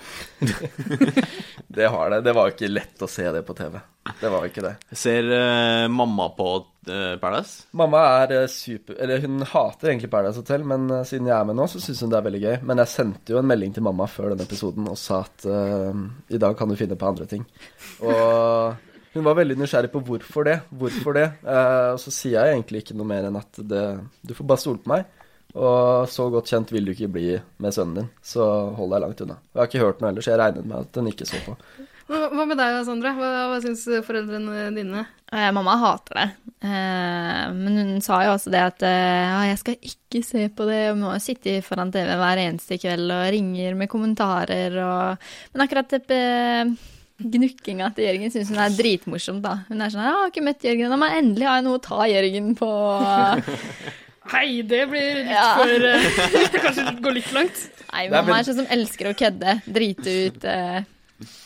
(laughs) det har det. Det var jo ikke lett å se det på TV. Det var jo ikke det.
Ser eh, mamma på eh, Paradise?
Mamma er eh, super Eller hun hater egentlig Paradise Hotel, men eh, siden jeg er med nå, så syns hun det er veldig gøy. Men jeg sendte jo en melding til mamma før denne episoden og sa at eh, i dag kan du finne på andre ting. Og hun var veldig nysgjerrig på hvorfor det. Hvorfor det? Eh, og så sier jeg egentlig ikke noe mer enn at det, du får bare stole på meg. Og så godt kjent vil du ikke bli med sønnen din, så hold deg langt unna. Jeg har ikke hørt noe ellers, jeg regnet med at hun ikke så på.
Hva hva med deg, Sandra? Hva, hva syns foreldrene dine?
Eh, mamma hater det. Eh, men hun sa jo også det at eh, «Ja, jeg skal ikke se på det. Jeg må jo sitte foran TV hver eneste kveld og ringer med kommentarer og Men akkurat det eh, gnukkinga til Jørgen syns hun er dritmorsomt, da. Hun er sånn «Ja, 'Jeg har ikke møtt Jørgen ennå, men endelig har jeg noe å ta Jørgen på'. (laughs)
Hei, det blir litt
Ja.
for eh, (laughs) Kanskje det går litt langt.
Nei,
Nei,
mamma
men-
er sånn som elsker å kødde. Drite ut eh,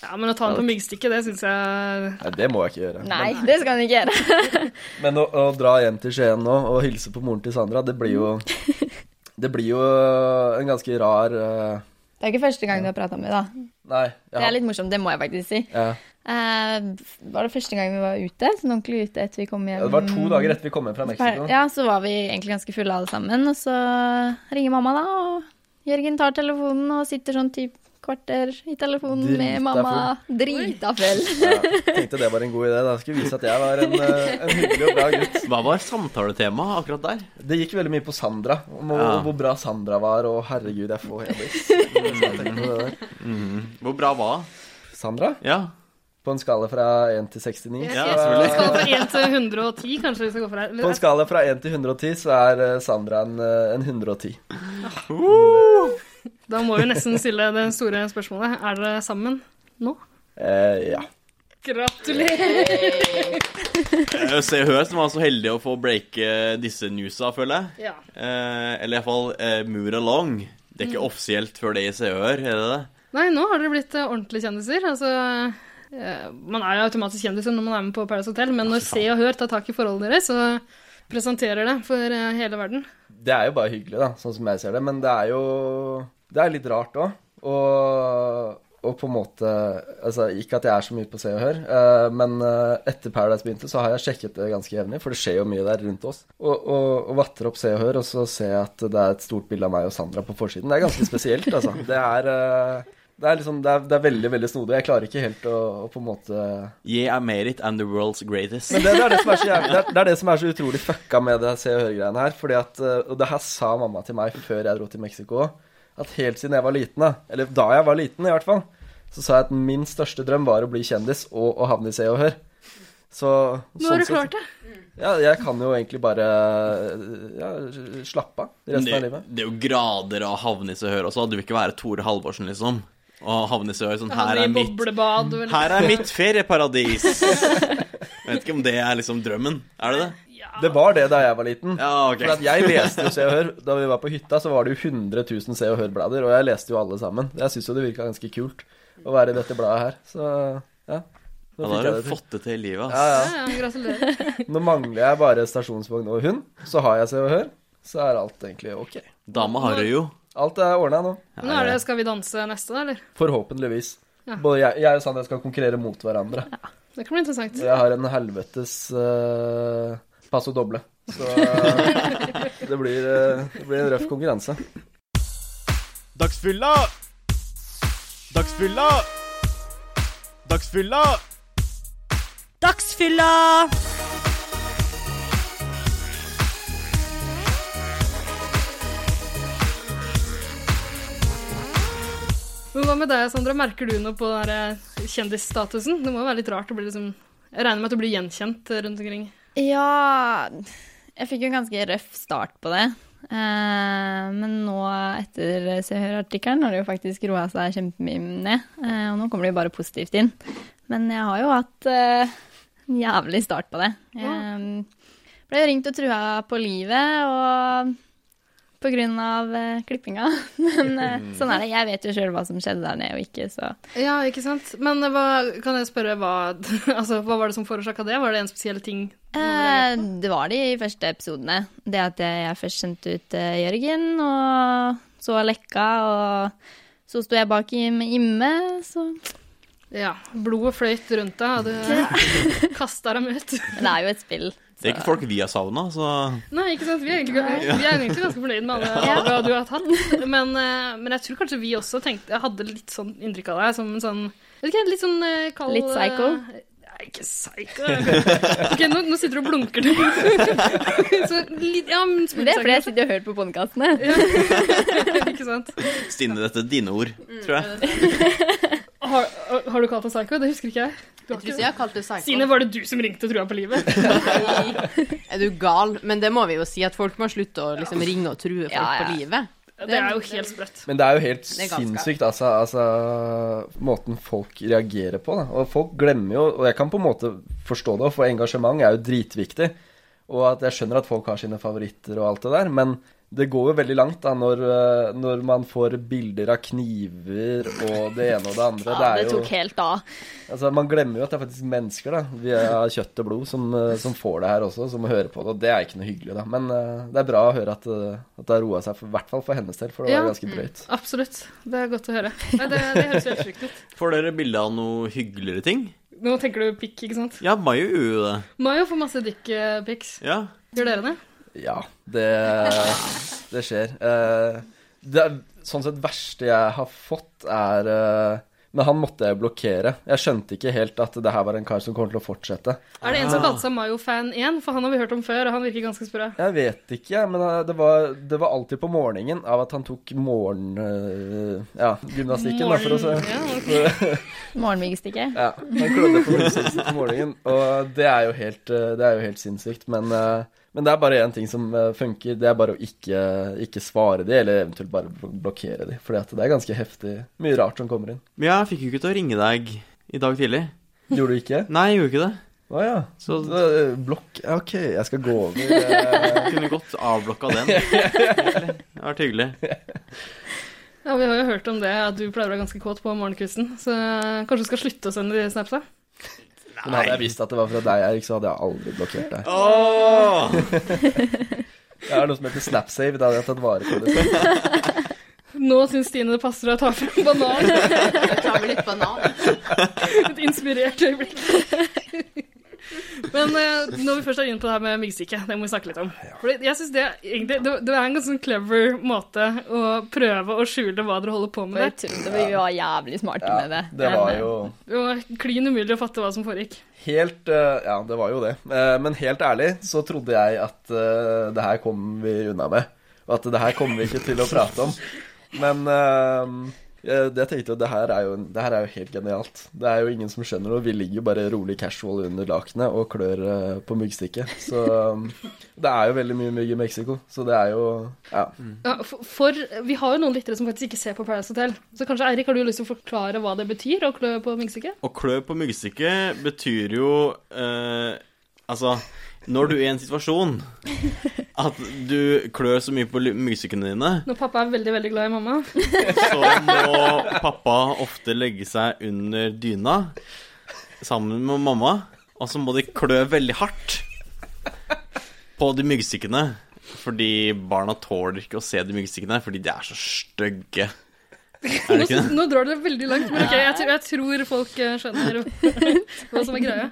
Ja, men å ta den på myggstikket, det syns jeg
Nei, det må jeg ikke gjøre.
Nei, det skal hun ikke gjøre.
Men å, å dra hjem til Skien nå og hilse på moren til Sandra, det blir
(laughs)
jo Det blir jo en ganske rar eh,
Det er ikke første gang du har prata med henne, da.
Nei. jeg
Det
har-
er litt morsomt, det må jeg faktisk si.
ja.
Eh, var det første gang vi var ute, sånn ordentlig ute etter vi kom hjem?
Ja, Det var to dager etter vi kom hjem fra Mexico.
Mm. Ja, så var vi egentlig ganske fulle alle sammen, og så ringer mamma da, og Jørgen tar telefonen og sitter sånn typ kvarter i telefonen
Drita
med mamma. Drita full.
Ja, tenkte det var en god idé. Da skulle jeg vise at jeg var en, eh, en hyggelig og bra gutt.
Hva var samtaletemaet akkurat der?
Det gikk veldig mye på Sandra, om å-
Ja.
hvor bra Sandra var, og herregud, jeg får
(laughs)
hebis. Så jeg tenkte på det der.
Hvor bra var det?
Sandra?
Ja.
På en skala fra 1 til 69?
Ja,
så-
selvfølgelig.
Skal fra 1 til 110, kanskje vi skal gå for her?
På en
Eller,
skala fra 1 til 110 så er eh, Sandra en, eh, en 110.
da må vi nesten stille det store spørsmålet. Er dere sammen nå?
Eh, ja.
Gratulerer!
Eh, Se og Hør som var så heldig å få breake disse newsa, føler jeg.
Ja.
Eh, eller iallfall eh, Moor Along. Det er ikke
Mm.
offisielt før det i Se og Hør, er det det?
Nei, nå har dere blitt eh, ordentlige kjendiser. Altså, eh, man er jo automatisk kjendis når man er med på Paradise Hotel, men når Se og Hør tar tak i forholdet deres og presenterer det for eh, hele verden
Det er jo bare hyggelig, da, sånn som jeg ser det. Men det er jo Det er litt rart òg. Og, og på en måte Altså, ikke at jeg er så mye på Se og Hør, eh, men eh, etter Paradise begynte, så har jeg sjekket det ganske jevnlig, for det skjer jo mye der rundt oss. Og, og, og vatter opp Se og Hør, og så ser jeg at det er et stort bilde av meg og Sandra på forsiden. Det er ganske spesielt, altså. Det er eh, det er, liksom, det, er, det er veldig veldig snodig. Jeg klarer ikke helt å, å på en måte
Yeah, I made it, and the world's greatest.
men det, det, er det, som er så jævlig, det, er, det er det som er så utrolig fucka med det Se og Hør-greiene her. Fordi at, eh, Og det her sa mamma til meg før jeg dro til Mexico At helt siden jeg var liten, da, eller da jeg var liten i hvert fall, så sa jeg at min største drøm var å bli kjendis og å havne i Se og Hør. Så
Nå har
sånn
du klart det!
Ja, jeg kan jo egentlig bare eh, ja, slappe av resten av
det,
livet.
det er jo grader av havne i Se og Hør også. Du vil ikke være Tore Halvorsen, liksom. Og havne i Se og Hør sånn Her
Havne i
er mitt
boblebad og-
Her er mitt
(laughs)
ferieparadis! Jeg vet ikke om det er liksom drømmen. Er det det?
Det var det da jeg var liten.
Ja, ok.
For at jeg leste jo Se og Hør. Da vi var på hytta, så var det jo 100 000 Se og Hør-blader, og jeg leste jo alle sammen. Jeg syns jo det virka ganske kult å være i dette bladet her, så
Ja,
ja. Nå,
da
fikk
har
jeg
du
det til.
fått det til i livet, ass.
Ja, ja.
Ja, ja, gratulerer.
Nå mangler jeg bare stasjonsvogn og hund, så har jeg Se og Hør. Så er alt egentlig ok.
Dama har du jo.
Alt er ordna nå.
Nå er det Skal vi danse neste, da, eller?
Forhåpentligvis.
Ja.
Både jeg, jeg og Sandra skal konkurrere mot hverandre.
Det kan bli interessant.
Jeg har en helvetes eh, passo doble. Så eh, det, blir, eh, det blir en røff konkurranse.
Dagsfylla! Dagsfylla! Dagsfylla!
Dagsfylla!
eh, Men hva med deg, Sandra? Merker du noe på den der kjendisstatusen? Det må jo være litt rart å bli liksom Jeg regner med at du blir gjenkjent rundt omkring.
Ja Jeg fikk jo en ganske røff start på det. Eh, men nå, etter Se og Hør-artikkelen, har det jo faktisk roa seg kjempemye ned. Eh, og nå kommer det jo bare positivt inn. Men jeg har jo hatt eh, en jævlig start på det. Jeg ble ringt og trua på livet og på grunn av eh, klippinga. (laughs) Men eh, sånn er det. Jeg vet jo sjøl hva som skjedde der nede og ikke, så
Ja, ikke sant? Men hva, kan jeg spørre hva, (laughs) altså, hva var det som forårsaka det? Var det en spesiell ting?
Eh, det var de første episodene. Det at jeg, jeg først sendte ut eh, Jørgen, og så Lekka, og så sto jeg bak i- med Imme, så
Ja, Blodet fløyt rundt deg, (laughs) og du kasta dem ut.
Men det er jo et spill. (laughs)
Det er ikke folk vi har savna, så
Nei, ikke sant? Vi er egentlig, vi er egentlig ganske fornøyd med alle valgene du har tatt. Men, eh, men jeg tror kanskje vi også tenkte Jeg hadde litt sånn inntrykk av deg som en sånn vet ikke, Litt sånn eh, kald
Litt psycho?
eh, Nei, ikke psycho. Ok, nå, nå sitter du og blunker. du. (laughs) Så litt Ja, men
Men det er fordi jeg
smuttsaker.
sitter og hører på podkastene.
(laughs) Ikke sant.
Stine, dette er dine ord,
Mm.
tror jeg.
Har, har du kalt deg psycho? Det husker ikke jeg. Du har
Jeg tror
ikke-
ikke jeg har kalt det psycho.
Stine, var det du som ringte og trua på livet?
(laughs) Er du gal? Men det må vi jo si, at folk må slutte å liksom ringe og true folk
Ja, ja.
på livet.
Det er jo helt sprøtt.
Men det er jo helt
Det er galskap.
sinnssykt, altså, altså Måten folk reagerer på, da. Og folk glemmer jo Og jeg kan på en måte forstå det, for engasjement er jo dritviktig. Og at jeg skjønner at folk har sine favoritter og alt det der, men det går jo veldig langt da når, eh, når man får bilder av kniver og det ene og det andre.
Ja,
det er
det
jo
tok helt av.
Altså, Man glemmer jo at det er faktisk mennesker, da. Vi er av kjøtt og blod som, eh, som får det her også, som hører på det. Og det er ikke noe hyggelig, da. Men eh, det er bra å høre at, eh, at det har roa seg, for- i hvert fall for hennes del, for det
Ja.
var ganske drøyt.
Absolutt. Det er godt å høre. Nei, det, det høres helt sjukt ut.
Får dere bilde av noe hyggeligere ting?
Nå tenker du pikk, ikke sant?
Ja, Mayo gjorde jo det.
Mayo får masse dickpics.
Ja.
Gjør dere det?
Ja, det, det skjer. Eh, Det er, sånn sett verste jeg har fått, er eh, Men han måtte jeg blokkere. Jeg skjønte ikke helt at det her var en kar som kommer til å fortsette.
Er det en som kalte seg Mayo-fan 1? For han har vi hørt om før, og han virker ganske sprø.
Jeg vet ikke, jeg, men eh, det var, det var alltid på morgenen av at han tok morgen... eh, Ja, gymnastikken, da, for å si.
Ja, ok.
(laughs) Morgenmyggestikket.
Ja, han klødde på brystet på morgenen, og det er jo helt, eh, det er jo helt sinnssykt. Men, eh, men det er bare én ting som eh, funker, det er bare å ikke, ikke svare de, eller eventuelt bare bl- blokkere de. For det er ganske heftig. Mye rart som kommer inn.
Men jeg fikk jo ikke til å ringe deg i dag tidlig.
Gjorde du ikke?
Nei, jeg gjorde ikke det.
Å ja. Så (laughs)
Så-
eh, blokk Ja, OK, jeg skal gå over. eh,
Jeg kunne godt avblokka den. egentlig. Det har vært hyggelig.
ja, Vi har jo hørt om det, at du pleier å være ganske kåt på morgenkvisten. Så eh, kanskje du skal slutte å sende de snapsa?
Men Sånn hadde jeg visst at det var fra deg, Erik, så hadde jeg aldri blokkert deg.
Åh!
Jeg har noe som heter SnapSave, da hadde jeg tatt vare på det.
Nå syns Stine det passer å ta frem banan.
Jeg tar vel litt banan.
(laughs) Et inspirert øyeblikk. Men eh, når vi først er inne på det her med myggsyke, det må vi snakke litt om. Fordi jeg synes det, er egentlig, det, det er en ganske sånn clever måte å prøve å skjule hva dere holder på
Og
med
jeg
der.
trodde vi var jævlig smarte
Ja,
med det.
det
Men,
var
eh,
jo
Det var klin umulig å fatte hva som foregikk.
Helt eh, Ja, det var jo det. Eh, Men helt ærlig så trodde jeg at eh, det her kom vi unna med. Og at det her kommer vi ikke til å prate om. Men eh, eh, det jeg tenkte jo, det her er jo, det her er jo helt genialt. Det er jo ingen som skjønner det, og vi ligger jo bare rolig casual under lakenet og klør eh, på myggstikket. Så eh, det er jo veldig mye mygg i Mexico, så det er jo Ja.
Ja, for, for vi har jo noen lyttere som faktisk ikke ser på Paradise Hotel. Så kanskje Eirik, har du lyst til å forklare hva det betyr å klø på myggstykket?
Å klø på myggstikket betyr jo eh, Altså, når du er i en situasjon at du klør så mye på ly- myggstykkene dine,
Når pappa er veldig, veldig glad i mamma.
så må pappa ofte legge seg under dyna sammen med mamma, og så må de klø veldig hardt på de myggstykkene. Fordi barna tåler ikke å se de myggstykkene, fordi de er så stygge. Er det
Nå,
ikke det?
nå drar det veldig langt, men ok, jeg, tror- jeg tror folk eh, skjønner hva som er greia.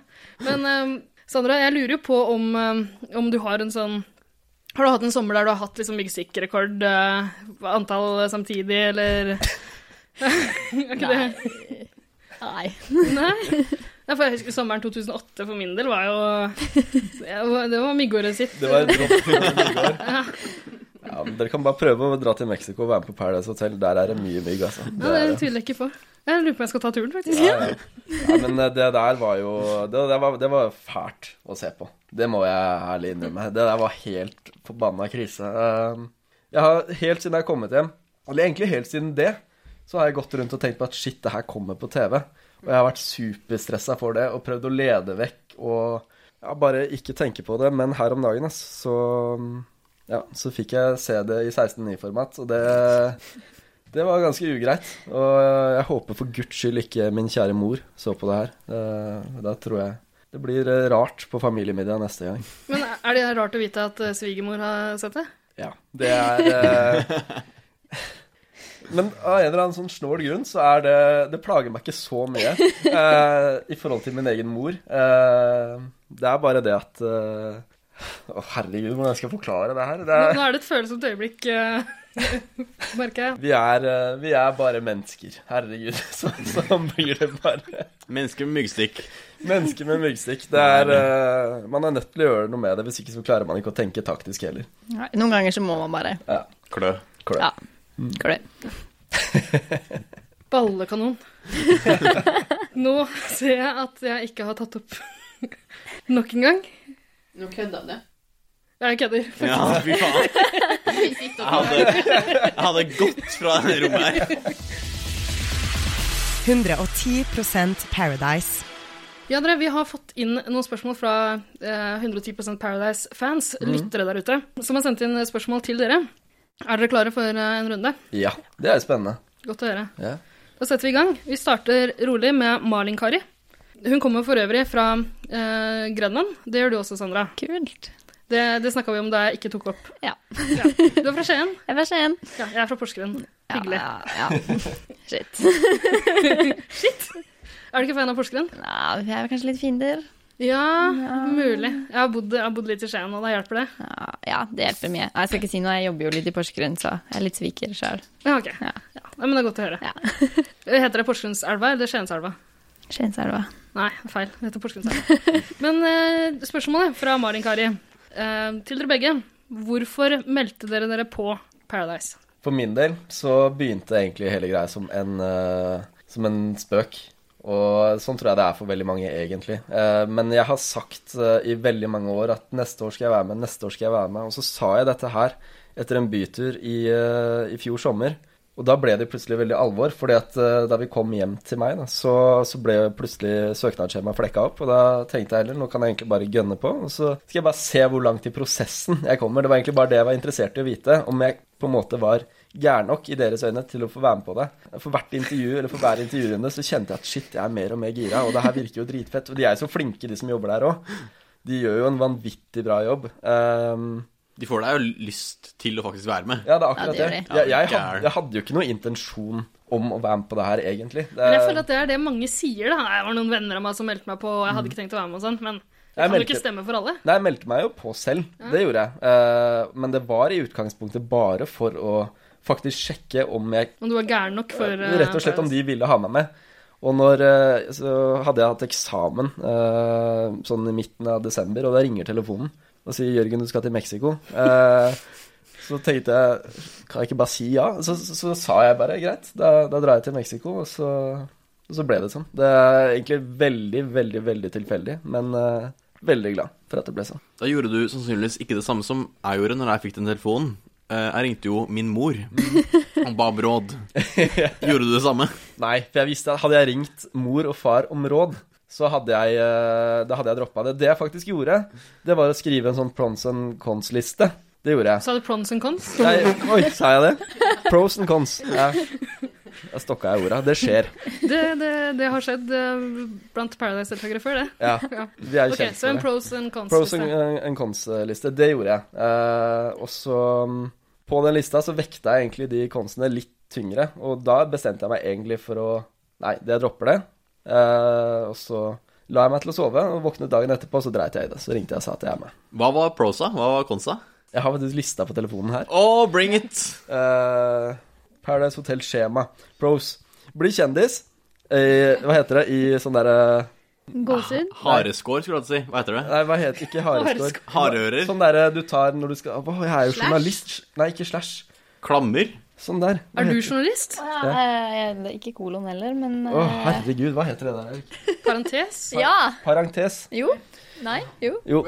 Men eh, Sandra, jeg lurer jo på om, eh, om du har en sånn Har du hatt en sommer der du har hatt liksom myggstikkrekord, eh, antall samtidig, eller (laughs) Er ikke det?
eh, Nei.
Nei. Ja, for jeg husker Sommeren 2008 for min del var jo ja, Det var myggåret sitt.
Det var rått i går. Ja, men dere kan bare prøve å dra til Mexico og være med på Paradise Hotel. Der er det mye mygg, altså.
Ja, det tviler jeg ikke på. Jeg lurer på om jeg skal ta turen, faktisk.
Ja, ja. ja, men eh, det der var jo det, det, var, det var fælt å se på. Det må jeg ærlig innrømme. Det der var helt forbanna krise. Eh, Jeg har helt siden jeg har kommet hjem, eller egentlig helt siden det, så har jeg gått rundt og tenkt på at shit, det her kommer på TV. Og jeg har vært superstressa for det og prøvd å lede vekk og ja, bare ikke tenke på det. Men her om dagen, ass, så ja, så fikk jeg se det i 16.9-format, og det det var ganske ugreit, og jeg håper for guds skyld ikke min kjære mor så på det her. Eh, Da tror jeg det blir eh, rart på familiemiddag neste gang.
Men er det rart å vite at eh, svigermor har sett det?
Ja, det er eh, (laughs) Men av en eller annen sånn snål grunn så er det Det plager meg ikke så mye eh, i forhold til min egen mor. Eh, det er bare det at eh, Å, herregud, hvordan skal jeg forklare det her? Det
Nå
er,
nå er det et følsomt øyeblikk, eh, (laughs) merker jeg.
vi, er, eh, vi er bare mennesker. Herregud, (laughs) så- sånn blir det bare.
Mennesker med myggstikk.
Mennesker med myggstikk. Det er, eh, man er nødt til å gjøre noe med det, hvis ikke så klarer man ikke å tenke taktisk heller.
Nei, Noen ganger så må man bare
Klø.
Klø.
Ja. klø.
(laughs)
Ballekanon. Nå ser jeg at jeg ikke har tatt opp (laughs) nok en gang.
Nå kødda du.
Jeg kødder.
Ja, fy faen. Jeg hadde, jeg hadde gått fra det rommet her.
110 Paradise.
Ja, dere, vi har fått inn noen spørsmål fra eh, 110 Paradise-fans,
Mhm.
lyttere der ute, som har sendt inn eh, spørsmål til dere. Er dere klare for eh, en runde?
Ja, det er jo spennende.
Godt å høre.
Ja.
Da setter vi i gang. Vi starter rolig med Malin-Kari. Hun kommer for øvrig fra eh, Grenland. Det gjør du også, Sandra.
Kult.
Det, det snakka vi om da jeg ikke tok opp.
Ja.
Du er fra Skien.
Jeg var sen.
Ja, jeg er fra Porsgrunn. Hyggelig.
Ja, ja, ja. (laughs) Shit.
Er du ikke fan av Porsgrunn?
Ja, vi er kanskje litt fiender.
Ja, mulig. Jeg har, bodd, jeg har bodd litt i Skien, og da hjelper det.
Ja, ja, det hjelper mye. Jeg skal ikke si noe, jeg jobber jo litt i Porsgrunn, så jeg er litt sviker sjøl.
Ja, ok.
Ja.
Ja. Nei, men det er godt å høre.
Ja.
(laughs) Heter det Porsgrunnselva eller Skienselva?
Skienselva.
Nei, feil. Det heter Porsgrunnselva.
(laughs)
men eh, spørsmålet fra Marin Kari eh, til dere begge. Hvorfor meldte dere dere på Paradise?
For min del så begynte egentlig hele greia som en, eh, som en spøk. Og sånn tror jeg det er for veldig mange, egentlig. Eh, men jeg har sagt eh, i veldig mange år at neste år skal jeg være med, neste år skal jeg være med. Og så sa jeg dette her etter en bytur i, eh, i fjor sommer. Og da ble det plutselig veldig alvor, fordi at eh, da vi kom hjem til meg, da, så, så ble plutselig søknadsskjemaet flekka opp. Og da tenkte jeg heller nå kan jeg egentlig bare gønne på, og så skal jeg bare se hvor langt i prosessen jeg kommer. Det var egentlig bare det jeg var interessert i å vite, om jeg på en måte var gæren nok i deres øyne til å få være med på det. For hvert intervju, eller for hver intervjurunde, så kjente jeg at shit, jeg er mer og mer gira, og det her virker jo dritfett. Og de er jo så flinke, de som jobber der òg. De gjør jo en vanvittig bra jobb. Ehm,
De får deg jo lyst til å faktisk være med.
ja, det er akkurat
Ja, det gjør
det.
de.
Jeg, jeg,
Ja,
hadde,
gæren.
jeg hadde jo ikke noe intensjon om å være med på det her, egentlig. Det,
Men jeg føler at det er det mange sier. da. Jeg var noen venner av meg som meldte meg på, og jeg hadde ikke tenkt å være med og sånn, men det
Mm. Jeg
kan jo
meldte-
ikke stemme for alle.
Nei, jeg meldte meg jo på selv. Det gjorde jeg. Eh, men det var i utgangspunktet bare for å faktisk sjekke om jeg
Om du var gæren nok for eh,
Rett og slett om de ville ha meg med. Og når, eh, så hadde jeg hatt eksamen eh, sånn i midten av desember, og da ringer telefonen og sier 'Jørgen, du skal til Mexico'. Eh, så tenkte jeg kan jeg ikke bare si ja? Så, så, så sa jeg bare greit, da, da drar jeg til Mexico. Og så, og så ble det sånn. Det er egentlig veldig, veldig, veldig tilfeldig, men eh, veldig glad for at det ble sånn.
Da gjorde du sannsynligvis ikke det samme som jeg gjorde når jeg fikk den telefonen. Eh, Jeg ringte jo min mor og ba om råd. Gjorde du det samme?
Nei, for jeg visste at hadde jeg ringt mor og far om råd, så hadde jeg, eh, da hadde jeg droppa det. Det jeg faktisk gjorde, det var å skrive en sånn pros and cons-liste. Det gjorde jeg.
Sa du prons and cons?
Nei, oi, sa jeg det? Pros and cons. Ja. Da stokka jeg orda. Det skjer.
Det, det, det har skjedd eh, blant Paradise-deltakere før, det.
Ja,
(laughs) Ja.
vi er jo
Ok,
kjent
så en
for det.
pros and cons.
Pros
hvis
and,
det-
and cons-liste. Det gjorde jeg. Eh, og så mm, På den lista så vekta jeg egentlig de consene litt tyngre, og da bestemte jeg meg egentlig for å Nei, det dropper det. Eh, og så la jeg meg til å sove, og våknet dagen etterpå, så dreit jeg i det. Så ringte jeg og sa at jeg er med.
Hva var prosa? Hva var konsa?
Jeg har faktisk lista på telefonen her.
Oh, bring it!
Eh, Paradise Hotel skjema. Pros. Bli kjendis. Eh, hva heter det i sånn derre
Gåsehud.
Hareskår, skulle jeg til å si. Hva heter det?
Nei, hva heter ikke Sånn hareskår?
Hardører?
Sånn derre du tar når du skal Å, jeg er jo
Slash?
journalist. Nei, ikke slash.
Klammer?
Sånn der. Hva
Er du
heter-
journalist?
Ja, eh, det er ikke kolon heller, men
Å,
eh,
herregud, hva heter det der? Erik?
Parentes?
Ja!
Parentes.
Jo. Nei, jo.
Jo.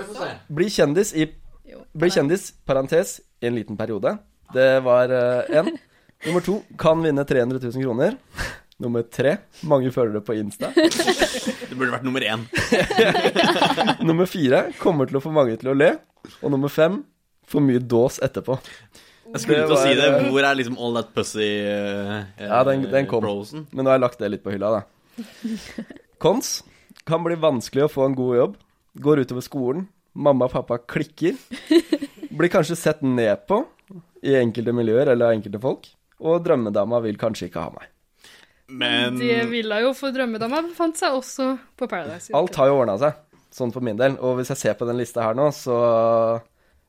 Bli kjendis i
jo.
Bli kjendis, parentes, i en liten periode. Det var én. Nummer to kan vinne 300 000 kroner. Nummer tre mange følgere på Insta.
Det burde vært nummer én.
Nummer fire kommer til å få mange til å le. Og nummer fem for mye dås etterpå.
Jeg skulle
Det
til å si det.
var, eh,
Hvor er liksom all that pussy eh,
Ja, den- den kom.
prosen?
Men nå har jeg lagt det litt på hylla, da. Kons kan bli vanskelig å få en god jobb. Går utover skolen. Mamma og pappa klikker. Blir kanskje sett ned på i enkelte miljøer eller av enkelte folk. Og drømmedama vil kanskje ikke ha meg.
Men
Det ville jeg jo, for drømmedama befant seg også på Paradise.
Alt har jo ordna seg, sånn for min del. Og hvis jeg ser på den lista her nå, så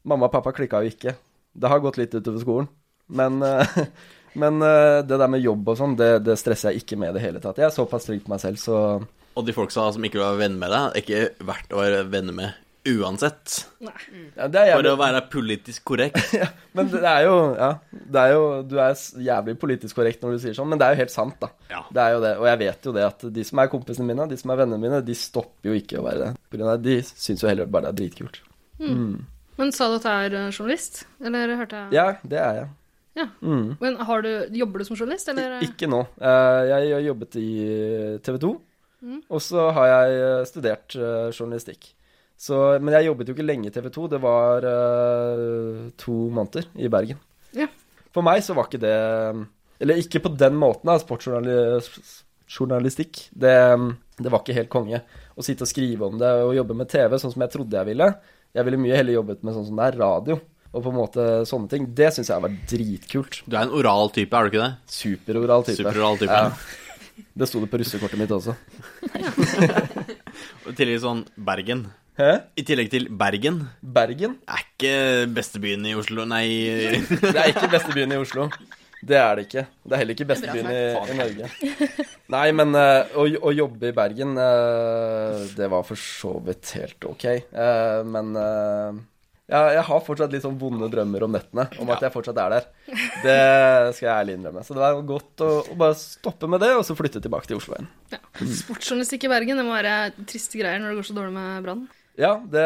Mamma og pappa klikka jo ikke. Det har gått litt utover skolen. Men, eh, (laughs) men eh, det der med jobb og sånn, det, det stresser jeg ikke med i det hele tatt. Jeg er såpass trygg på meg selv, så
Og de folka som ikke vil være venner med deg, er ikke verdt å være venner med uansett.
ja, det er
For
jævlig,
å være politisk korrekt.
Men det er jo Ja, det er jo Du er s- jævlig politisk korrekt når du sier sånn, men det er jo helt sant, da.
Ja.
Det er jo det. Og jeg vet jo det at de som er kompisene mine, de som er vennene mine, de stopper jo ikke å være det. På grunn av at De syns jo heller bare det er dritkult.
Men sa du at du er eh, journalist? Eller hørte jeg
Ja, det er jeg.
Ja. Men har du, jobber du som journalist, eller?
Ik- Ikke nå. Eh, Jeg har jobbet i TV 2, og så har jeg eh, studert eh, journalistikk. Så, men jeg jobbet jo ikke lenge i TV 2, det var eh, to måneder i Bergen.
Ja.
For meg så var ikke det Eller ikke på den måten, da, sportsjournalistikk. Det, det var ikke helt konge å sitte og skrive om det og jobbe med TV, sånn som jeg trodde jeg ville. Jeg ville mye heller jobbet med sånn som det er, radio. Og på en måte sånne ting. Det syns jeg var dritkult.
Du er en oral type, er du ikke det?
Superoral type.
Superoral type.
Ja. Det sto det på russekortet mitt også.
Og I tillegg sånn Bergen.
Hæ?
I tillegg til Bergen
Bergen?
er ikke bestebyen i Oslo, nei (laughs)
Det er ikke beste byen i Oslo. Det er det ikke. Det er heller ikke beste byen i, i Norge. Nei, men eh, å, å jobbe i Bergen, eh, det var for så vidt helt ok. Eh, men eh, ja, jeg har fortsatt litt sånn vonde drømmer om nettene, om at jeg fortsatt er der. Det skal jeg ærlig innrømme. Så det var godt å, å bare stoppe med det, og så flytte tilbake til Oslo igjen.
Sportsjournalistikk i Bergen, det må være triste greier når det går så dårlig med Brann.
Ja, det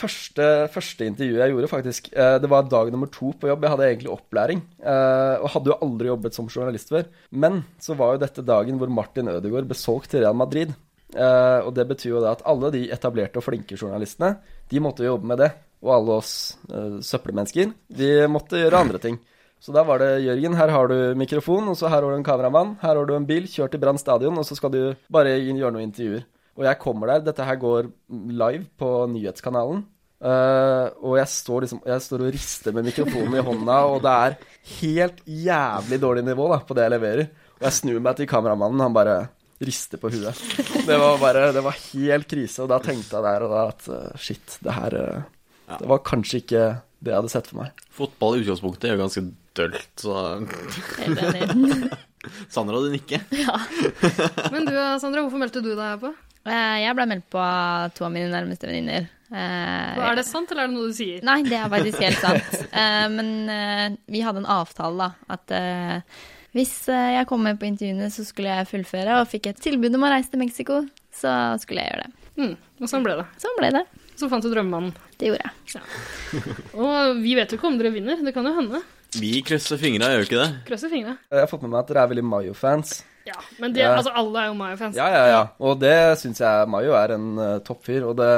første, første intervjuet jeg gjorde, faktisk, eh, det var dag nummer to på jobb. Jeg hadde egentlig opplæring, eh, og hadde jo aldri jobbet som journalist før. Men så var jo dette dagen hvor Martin Ødegaard ble solgt til Real Madrid. Eh, Og det betyr jo da at alle de etablerte og flinke journalistene, de måtte jo jobbe med det. Og alle oss eh, søppelmennesker, vi måtte gjøre andre ting. Så da var det Jørgen, her har du mikrofon, og så her har du en kameramann, her har du en bil, kjør til Brann stadion, og så skal du bare gjøre noen intervjuer. Og jeg kommer der, dette her går live på nyhetskanalen. eh, og jeg står liksom Jeg står og rister med mikrofonen i hånda, og det er helt jævlig dårlig nivå da på det jeg leverer. Og jeg snur meg til kameramannen, han bare rister på huet. Det var bare Det var helt krise, og da tenkte jeg der og da at eh, shit, det her eh, Det var kanskje ikke det jeg hadde sett for meg.
Fotball i utgangspunktet er jo ganske dølt, så
Helt enig. (laughs)
Sander hadde nikke.
Men du, eh, Sandra, hvorfor meldte du deg (laughs) på?
Eh, Jeg ble meldt på av to av mine nærmeste venninner. Eh,
Er det sant, eller er det noe du sier?
Nei, det er faktisk helt sant. Eh, men eh, vi hadde en avtale, da. At eh, hvis eh, jeg kom med på intervjuene, så skulle jeg fullføre. Og fikk et tilbud om å reise til Mexico, så skulle jeg gjøre det.
Mm, og sånn ble det.
Sånn ble det.
Så fant du drømmemannen.
Det gjorde jeg.
Og vi vet jo ikke om dere vinner, det kan jo hende.
Vi krysser fingra, gjør vi ikke det?
Krøsser fingrene.
Jeg har fått med meg at dere er veldig Mayo-fans.
Ja, men det,
Ja.
altså, alle er jo Maya-fans.
Ja, ja, ja. Og det syns jeg Mayo er en eh, toppfyr. Og det,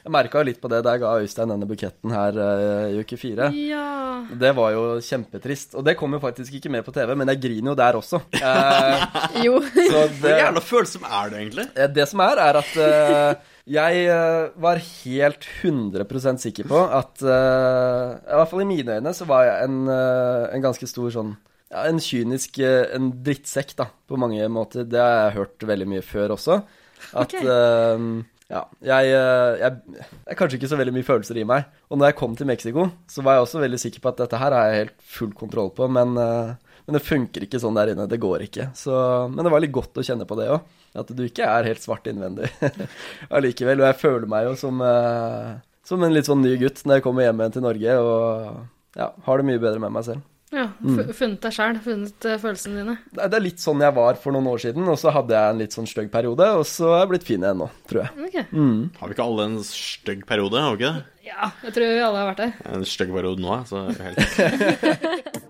jeg merka litt på det da jeg ga Øystein denne buketten her eh, i uke fire.
Ja.
Det var jo kjempetrist. Og det kom jo faktisk ikke med på TV, men jeg griner jo der også. Eh,
(laughs) Jo.
så
Hvor
det,
jævla følsom er du egentlig?
Eh, Det som er, er at eh, jeg eh, var helt 100 sikker på at eh, I hvert fall i mine øyne så var jeg en, eh, en ganske stor sånn ja, En kynisk eh, en drittsekk, da, på mange måter. Det har jeg hørt veldig mye før også. At
Ok.
eh, ja, jeg, eh, jeg, jeg er kanskje ikke så veldig mye følelser i meg. Og når jeg kom til Mexico, så var jeg også veldig sikker på at dette her har jeg helt full kontroll på, men, eh, men det funker ikke sånn der inne. Det går ikke. Så, men det var litt godt å kjenne på det òg. At du ikke er helt svart innvendig (laughs) allikevel. Og jeg føler meg jo som, eh, som en litt sånn ny gutt når jeg kommer hjem igjen til Norge og ja, har det mye bedre med meg selv.
Ja, fu- funnet deg sjæl, funnet eh, følelsene dine.
Det er- det er litt sånn jeg var for noen år siden, og så hadde jeg en litt sånn stygg periode, og så er jeg blitt fin igjen nå, tror jeg.
Ok.
Har vi ikke alle en stygg periode, har vi ikke det?
Ja, jeg tror vi alle har vært der.
Jeg er En stygg periode nå, jeg, så jeg er helt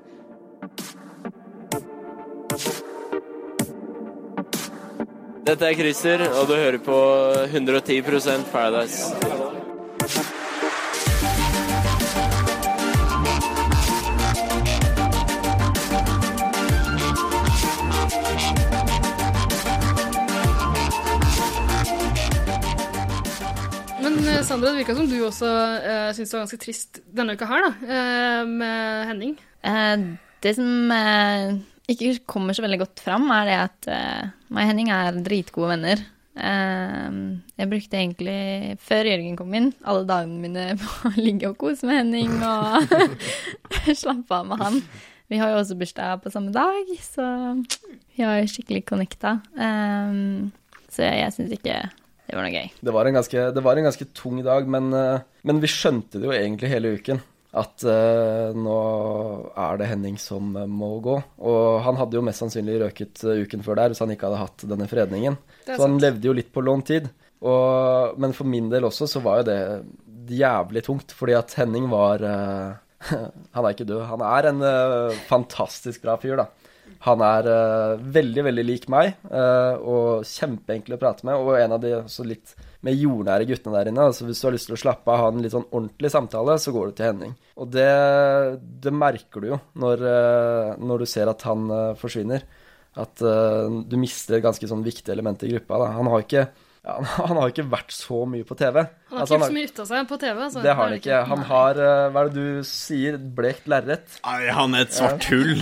Dette er Christer, og du hører på 110 Paradise.
Men eh, Sandra, det virka som du også uh, syntes det var ganske trist denne uka her, da. eh, med Henning.
Eh, det som eh, ikke kommer så veldig godt fram, er det at eh, meg og Henning er dritgode venner. Eh, jeg brukte egentlig, før Jørgen kom inn, alle dagene mine på å ligge og kose med Henning og (laughs) slappe av med han. Vi har jo også bursdag på samme dag, så vi har jo skikkelig connecta. Eh, så jeg syns ikke det var noe gøy.
Det var en ganske, det var en ganske tung dag, men, eh, men vi skjønte det jo egentlig hele uken. At eh, nå er det Henning som eh, må gå. Og han hadde jo mest sannsynlig røket eh, uken før der hvis han ikke hadde hatt denne fredningen.
Det er
Så han levde jo litt på lånt tid. Og, men for min del også så var jo det jævlig tungt, fordi at Henning var eh, (laughs) Han er ikke død. Han er en eh, fantastisk bra fyr, da. Han er eh, veldig, veldig lik meg, eh, og kjempeenkel å prate med. Og en av de også litt mer jordnære guttene der inne. Altså Hvis du har lyst til å slappe av og ha en litt sånn ordentlig samtale, så går du til Henning. Og det, det merker du jo når, eh, når du ser at han eh, forsvinner. At eh, du mister et ganske sånn viktig element i gruppa. Da. Han har ikke ja, (laughs) han har ikke vært så mye på TV.
Han har
Altså,
ikke gjort så mye ut av seg på TV. Altså.
det har han ikke. Han
Nei.
har, eh, hva er det du sier, blekt lerret?
(laughs) Nei, han er et svart hull.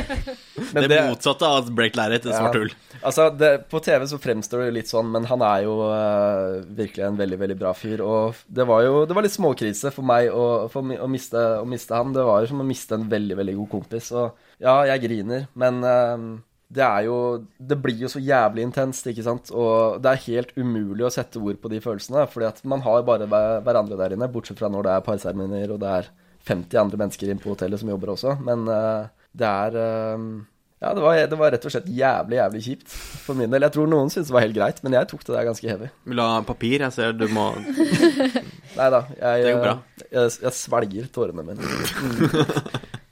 (laughs)
Men
Det motsatte av at Break Lerret, et svart
Ja.
hull.
Altså, det, På TV så fremstår det litt sånn, men han er jo eh, virkelig en veldig veldig bra fyr. Og det var jo det var litt småkrise for meg å, for, mi- å, miste, å miste han. Det var jo som å miste en veldig veldig god kompis. Og ja, jeg griner, men eh, det er jo Det blir jo så jævlig intenst, ikke sant. Og det er helt umulig å sette ord på de følelsene, fordi at man har bare hver, hverandre der inne, bortsett fra når det er parseremonier og det er 50 andre mennesker inne på hotellet som jobber også. Men eh, det er eh, ja, det var, det var rett og slett jævlig, jævlig kjipt for min del. Jeg tror noen syntes det var helt greit, men jeg tok det der ganske heavy.
Vil du ha papir? Jeg ser du må
Nei da, jeg, eh,
Det går bra.
jeg, jeg svelger tårene mine.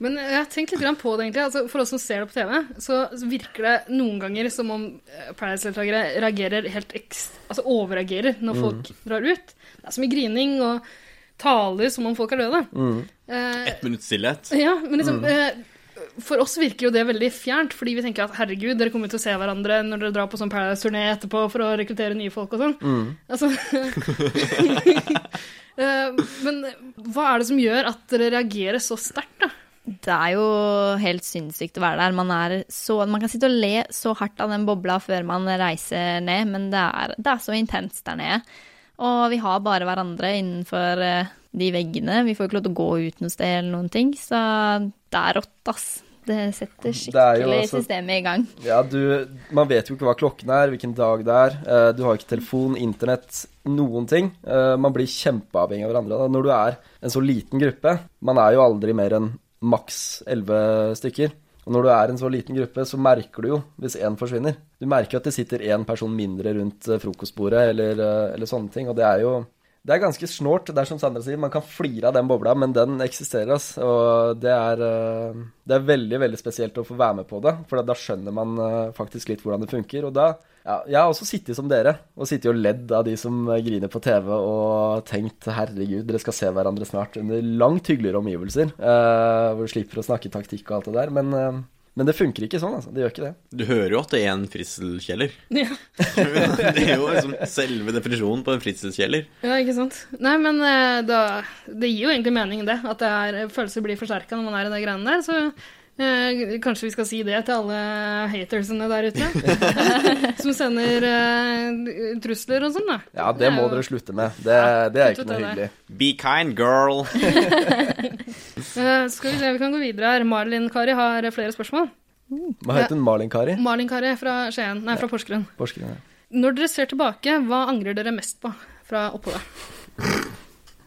Men jeg har tenkt litt grann på det, egentlig. Altså, for oss som ser det på TV, så virker det noen ganger som om eh, Paradise-deltakere reagerer helt eks... Altså overreagerer når folk drar ut. Det er så mye grining og taler som om folk er døde. Eh,
Ett minutts stillhet.
Ja, men liksom eh, For oss virker jo det veldig fjernt, fordi vi tenker at herregud, dere kommer til å se hverandre når dere drar på sånn Paradise-turné etterpå for å rekruttere nye folk og sånn. Altså (laughs) Eh, Men hva er det som gjør at dere reagerer så sterkt, da?
det er jo helt sinnssykt å være der. Man, er så, man kan sitte og le så hardt av den bobla før man reiser ned, men det er, det er så intenst der nede. Og vi har bare hverandre innenfor eh, de veggene. Vi får ikke lov til å gå ut noe sted eller noen ting, så det er rått, ass. Det setter
Det er jo
skikkelig
altså-
systemet i gang.
Ja, du, man vet jo ikke hva klokken er, hvilken dag det er. Eh, Du har ikke telefon, internett, noen ting. Eh, Man blir kjempeavhengig av hverandre. Da. Når du er en så liten gruppe, man er jo aldri mer enn maks 11 stykker. Og når du er en så liten gruppe, så merker du jo hvis én forsvinner. Du merker at det sitter én person mindre rundt eh, frokostbordet eller, eh, eller sånne ting, og det er jo det er ganske snålt. Det er som Sandra sier, man kan flire av den bobla, men den eksisterer, ass. Og det er, eh, det er veldig, veldig spesielt å få være med på det, for da skjønner man eh, faktisk litt hvordan det funker. Og da ja, Jeg har også sittet som dere, og sittet og ledd av de som eh, griner på TV, og tenkt herregud, dere skal se hverandre snart under langt hyggeligere omgivelser, eh, hvor du slipper å snakke taktikk og alt det der. Men, eh, men det funker ikke sånn, altså. Det gjør ikke det.
Du hører jo at det er en fritselkjeller.
Ja.
(laughs) Det er jo liksom selve definisjonen på en fritselkjeller.
Ja, ikke sant? Nei, men eh, da, det gir jo egentlig mening, det. At det er, følelser blir forsterka når man er i de greiene der. Så eh, kanskje vi skal si det til alle hatersene der ute. (laughs) som sender eh, trusler og sånn, da.
Ja, det må dere slutte med. Det, det er
kutt
ikke
ut
noe
av
hyggelig.
det.
Be kind, girl.
Eh, skal vi se, vi kan gå videre her. Malin Kari har flere spørsmål.
Hva het hun? Malin-Kari?
Malin Kari fra Skien, nei, fra Porsgrunn.
Porsgrunn. ja.
Når dere ser tilbake, hva angrer dere mest på fra oppholdet?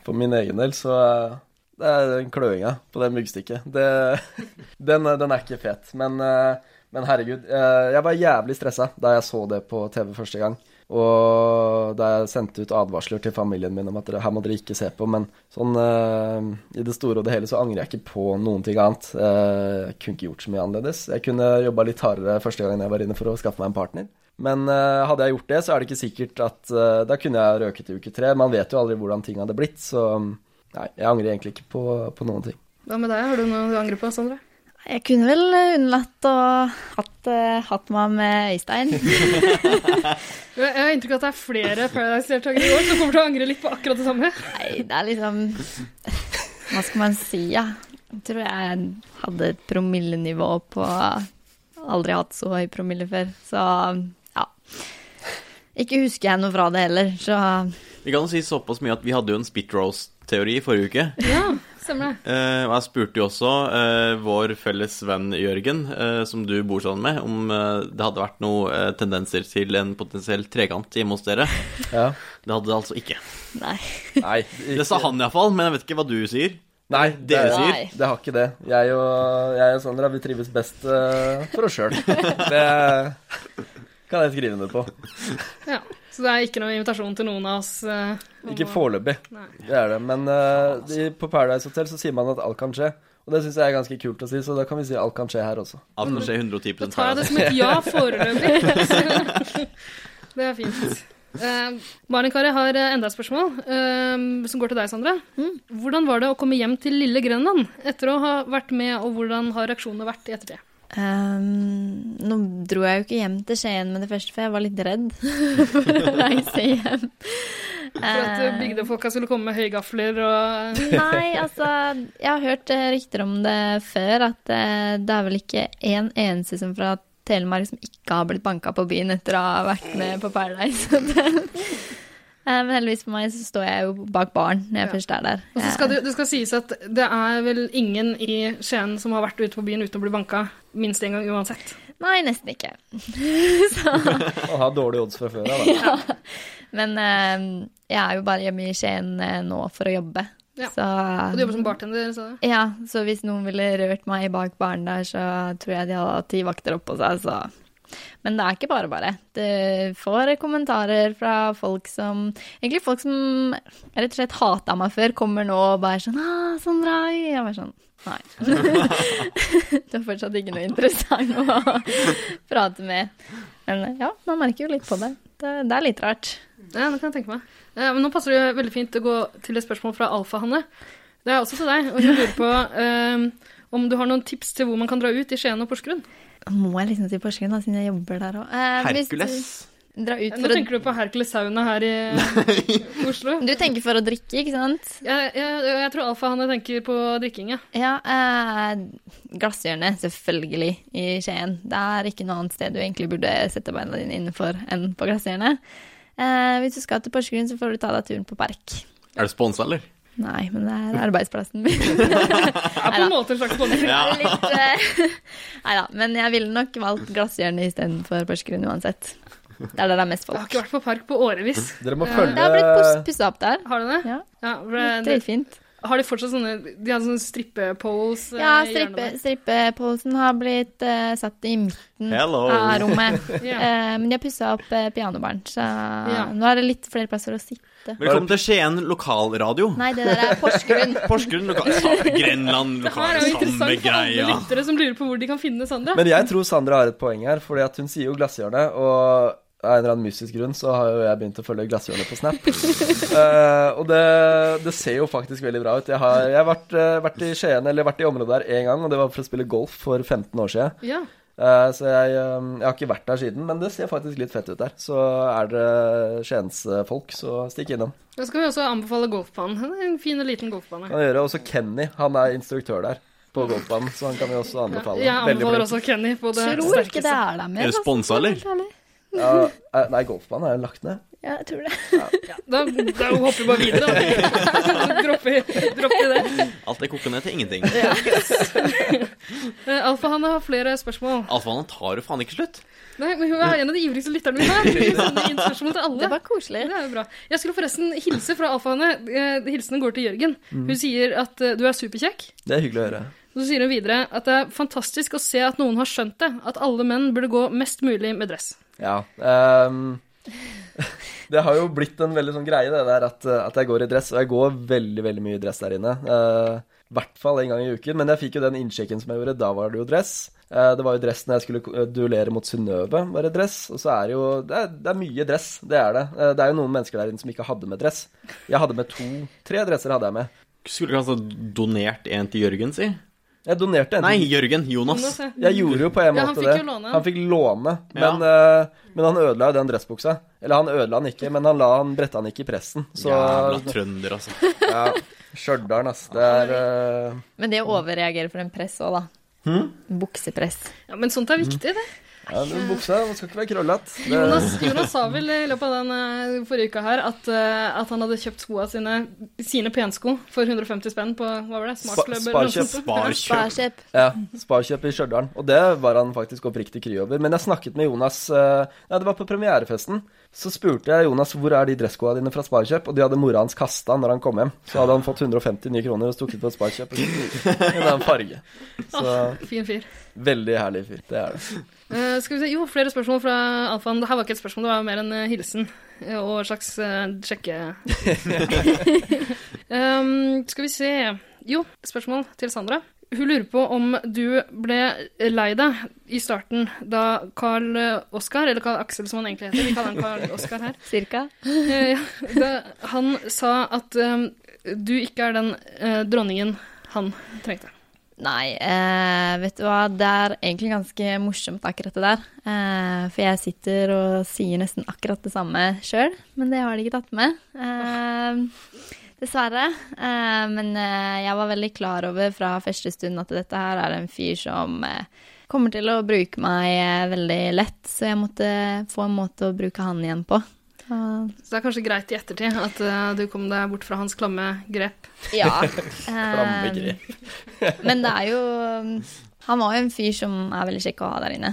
For min egen del så eh, Det er den kløinga på det myggstikket. Det, (laughs) den, eh, den er ikke fet. Men, eh, men herregud, eh, jeg var jævlig stressa da jeg så det på TV første gang. Og da jeg sendte ut advarsler til familien min om at dere, her må dere ikke se på. Men sånn eh, i det store og det hele så angrer jeg ikke på noen ting annet. Eh, jeg kunne ikke gjort så mye annerledes. Jeg kunne jobba litt hardere første gangen jeg var inne for å skaffe meg en partner. Men eh, hadde jeg gjort det, så er det ikke sikkert at eh, Da kunne jeg røket i uke tre. Man vet jo aldri hvordan ting hadde blitt, så nei, jeg angrer egentlig ikke på, på noen ting.
Hva med deg, har du noe du angrer på, Sondre?
Jeg kunne vel unnlatt å hatt, eh, hatt meg med Øystein.
Jeg jeg har inntrykk av at det er flere Paradise-deltakere i år som kommer til å angre litt på akkurat det samme.
Nei, det er liksom Hva skal man si, ja? Jeg tror jeg hadde et promillenivå på Aldri hatt så høy promille før, så ja. Ikke husker jeg noe fra det heller, så
Vi kan jo si såpass mye at vi hadde jo en spit roast-teori i forrige uke.
Ja, stemmer det.
Eh, og jeg spurte jo også eh, vår felles venn Jørgen, eh, som du bor sammen med, om eh, det hadde vært noen eh, tendenser til en potensiell trekant hjemme hos dere.
Ja.
Det hadde det altså ikke.
nei.
Nei,
Det sa han iallfall, men jeg vet ikke hva du sier.
Nei, det,
Dere
sier?
nei. det har ikke det. Jeg og, jeg og Sandra vi trives best eh, for oss
(laughs)
sjøl. Det kan jeg skrive under på.
Ja. Så det er ikke noen invitasjon til noen av oss. eh, om
Ikke
å-
foreløpig,
Nei.
det er det. Men eh, de, på Paradise Hotel så sier man at alt kan skje. Og det syns jeg er ganske kult å si, så da kan vi si alt kan skje her også.
Alt kan skje 110
Da tar jeg det som et ja foreløpig. Så det er fint. Uh, Maren Kari har eh, enda et spørsmål, eh, som går til deg, Sandra. Hvordan var det å komme hjem til lille Grenland etter å ha vært med, og hvordan har reaksjonene vært i ettertid?
Ehm, nå dro jeg jo ikke hjem til Skien med det første, for jeg var litt redd (laughs) for å reise hjem.
For at eh,
Ehm,
bygdefolka skulle komme med høygafler og
Nei, altså Jeg har hørt eh, rykter om det før, at eh, det er vel ikke en eneste som fra Telemark som ikke har blitt banka på byen etter å ha vært med på Paradise. (laughs) Eh, Men heldigvis for meg så står jeg jo bak baren når jeg
Ja.
først er der.
Og
Eh,
så skal det, det skal sies at det er vel ingen i Skien som har vært ute på byen uten å bli banka minst én gang uansett.
Eh, Nei, nesten ikke.
Og har dårlige odds fra før av, da.
(laughs) Men eh, jeg er jo bare hjemme i Skien eh, nå for å jobbe.
Ja.
Så,
Og du jobber som bartender, sa du?
Ja, så hvis noen ville rørt meg bak baren der, så tror jeg de hadde hatt ti vakter oppå seg, så Men det er ikke bare bare. Du får kommentarer fra folk som Egentlig folk som rett og slett hata meg før, kommer nå og bare sånn ah, 'Sandra, oi.» Jeg bare sånn Nei. (laughs) det er fortsatt ikke noe interessant å prate med. Men ja, man merker jo litt på det. Det, det er litt rart.
Ja, det kan jeg tenke meg. Eh, men nå passer det veldig fint å gå til et spørsmål fra Alfa-Hanne. Det er også til deg, og hun lurer på eh, om du har noen tips til hvor man kan dra ut i Skien og Porsgrunn?
Må jeg liksom si Porsgrunn, da, siden jeg jobber der Eh, òg?
Hercules.
Dra ut
Nå
for å,
tenker du på Hercules Sauna her
(laughs)
i Oslo.
du tenker for å drikke, ikke sant?
Jeg, jeg, jeg tror Alfa-Hanne tenker på drikking, ja.
Ja, eh, glasshjørnet, selvfølgelig, i Skien. Det er ikke noe annet sted du egentlig burde sette beina dine innenfor enn på glasshjørnet. Eh, hvis du skal til Porsgrunn, så får du ta deg turen på Berk.
Er det sponsa, eller?
Nei, men det er arbeidsplassen min. (laughs) Nei
Er på en måte en slags bonde.
da. Litt, eh, nei da, men jeg ville nok valgt glasshjørnet istedenfor Porsgrunn uansett. Det er der det er mest
Jeg har
folk.
ikke vært på park på årevis.
Dere må
Det har blitt
følge
pussa opp der.
Har du det?
Ja,
Ja, for det-
Dritfint.
har de fortsatt sånne De hadde sånne strippepoles? eh,
Ja,
i
strippe,
hjørnet
strippeposen har blitt eh, satt i midten
Hello.
av rommet.
der? Ja.
Eh, men de har pussa opp uh, pianobaren, så nå er det litt flere plasser å sitte.
Velkommen til Skien lokalradio.
Nei, det der er Porsgrunn. (laughs)
Porsgrunn
(laughs)
lokal... Sa- Grenland
Det her
lokal...
er jo
Samme
interessant for alle
greia.
lyttere som lurer på hvor de kan finne Sandra.
Men jeg tror Sandra har et poeng her, fordi at hun sier jo Glasshjørnet, og av en eller annen mystisk grunn så har jo jeg begynt å følge Glasshjørnet på
(laughs)
Snap. Eh, og det, det ser jo faktisk veldig bra ut. Jeg har, jeg har vært, eh, vært i Skien, eller vært i området der én gang, og det var for å spille golf for 15 år siden.
Ja.
Eh, så jeg, eh, jeg har ikke vært der siden, men det ser faktisk litt fett ut der. Så er dere Skiensfolk, så stikk innom.
Da skal vi også anbefale golfbanen. Det er En fin og liten golfbane.
Kan gjøre også Kenny, han er instruktør der på golfbanen, så han kan vi også anbefale.
Jeg
Veldig
anbefaler
flink.
også Kenny på det
Tror ikke det
sterkeste.
er der
Er
mer.
det sponsa, eller?
altså.
Ja, eh, nei, golfbanen er lagt ned.
Ja, jeg tror det.
Da, da hopper vi bare videre.
(laughs)
da. Dropper dropper det.
Alt det koker ned til ingenting.
Eh, Alfahanne har flere spørsmål.
Alfahanne tar jo faen ikke slutt.
Nei, men Hun er en av de ivrigste lytterne vi har. Hun sender inn spørsmål til alle.
(laughs) Det var koselig.
Det er jo bra. Jeg skulle forresten hilse fra Alfahanne. Eh, Hilsenen går til Jørgen. Hun sier at eh, du er superkjekk.
Det er hyggelig å høre.
Så sier hun videre at det er fantastisk å se at noen har skjønt det, at alle menn burde gå mest mulig med dress.
Ja. ehm, (laughs) det har jo blitt en veldig sånn greie, det der at, eh, at jeg går i dress. Og jeg går veldig, veldig mye i dress der inne. Eh, I hvert fall en gang i uken. Men jeg fikk jo den innsjekken som jeg gjorde. Da var det jo dress. Eh, det var jo dress når jeg skulle eh, duellere mot Synnøve, var det dress. Og så er det jo Det er, det er mye dress, det er det. Eh, det er jo noen mennesker der inne som ikke hadde med dress. Jeg hadde med to Tre dresser hadde jeg med.
Skulle kanskje ha donert en til Jørgen, si.
Jeg donerte en til
Nei, Jørgen. Jonas.
Jonas,
Jeg gjorde jo på en
Ja,
måte
han fikk
det.
jo låne.
Han fikk låne, men, eh, men han ødela jo den dressbuksa. Eller han ødela den ikke, men han la han bretta den ikke i pressen. Så
Jævla trønder, altså.
ja, Stjørdal, ass. Det er eh,
Men det å overreagere for en press òg, da. Buksepress.
Ja, men sånt er viktig, det.
ja, den Buksa man skal ikke være krøllete. Det-
Jonas, Jonas sa vel i løpet av den eh, forrige uka her at, eh, at han hadde kjøpt skoa sine, sine pensko for 150 spenn på hva var det,
Spa-
Smartklubb eller noe
Sparkjøp.
sånt.
Sparkjøp.
Sparkjøp.
Ja, Sparkjøp i Stjørdal. Og det var han faktisk oppriktig kry over. Men jeg snakket med Jonas eh, Nei, det var på premierefesten. Så spurte jeg Jonas hvor er de dresskoa dine fra Sparkjøp, og de hadde mora hans kasta når han kom hjem. Så hadde han fått 150 nye kroner og stukket på Sparkjøp. En annen farge. Så
Ah, Fin fyr.
Veldig herlig fyr. Det er det.
Eh, skal vi se, jo, flere spørsmål fra Alfaen. Det her var ikke et spørsmål, det var mer en eh, hilsen eh, og en slags eh, sjekke...
(laughs)
um, skal vi se Jo, spørsmål til Sandra. Hun lurer på om du ble lei deg i starten da Carl Oskar, eller Carl Aksel som han egentlig heter, vi kaller han Carl Oskar her,
Cirka.
Eh, ja, det, han sa at eh, du ikke er den eh, dronningen han trengte.
Nei, eh, vet du hva, det er egentlig ganske morsomt akkurat det der. Eh, for jeg sitter og sier nesten akkurat det samme sjøl, men det har de ikke tatt med. Eh, dessverre. Eh, men eh, jeg var veldig klar over fra første stund at dette her er en fyr som eh, kommer til å bruke meg eh, veldig lett, så jeg måtte få en måte å bruke han igjen på. Så-
Så det er kanskje greit i ettertid at eh, du kom deg bort fra hans klamme grep.
Ja. Ehm,
Klamme grep.
Men det er jo Han var jo en fyr som er veldig kjekk å ha der inne.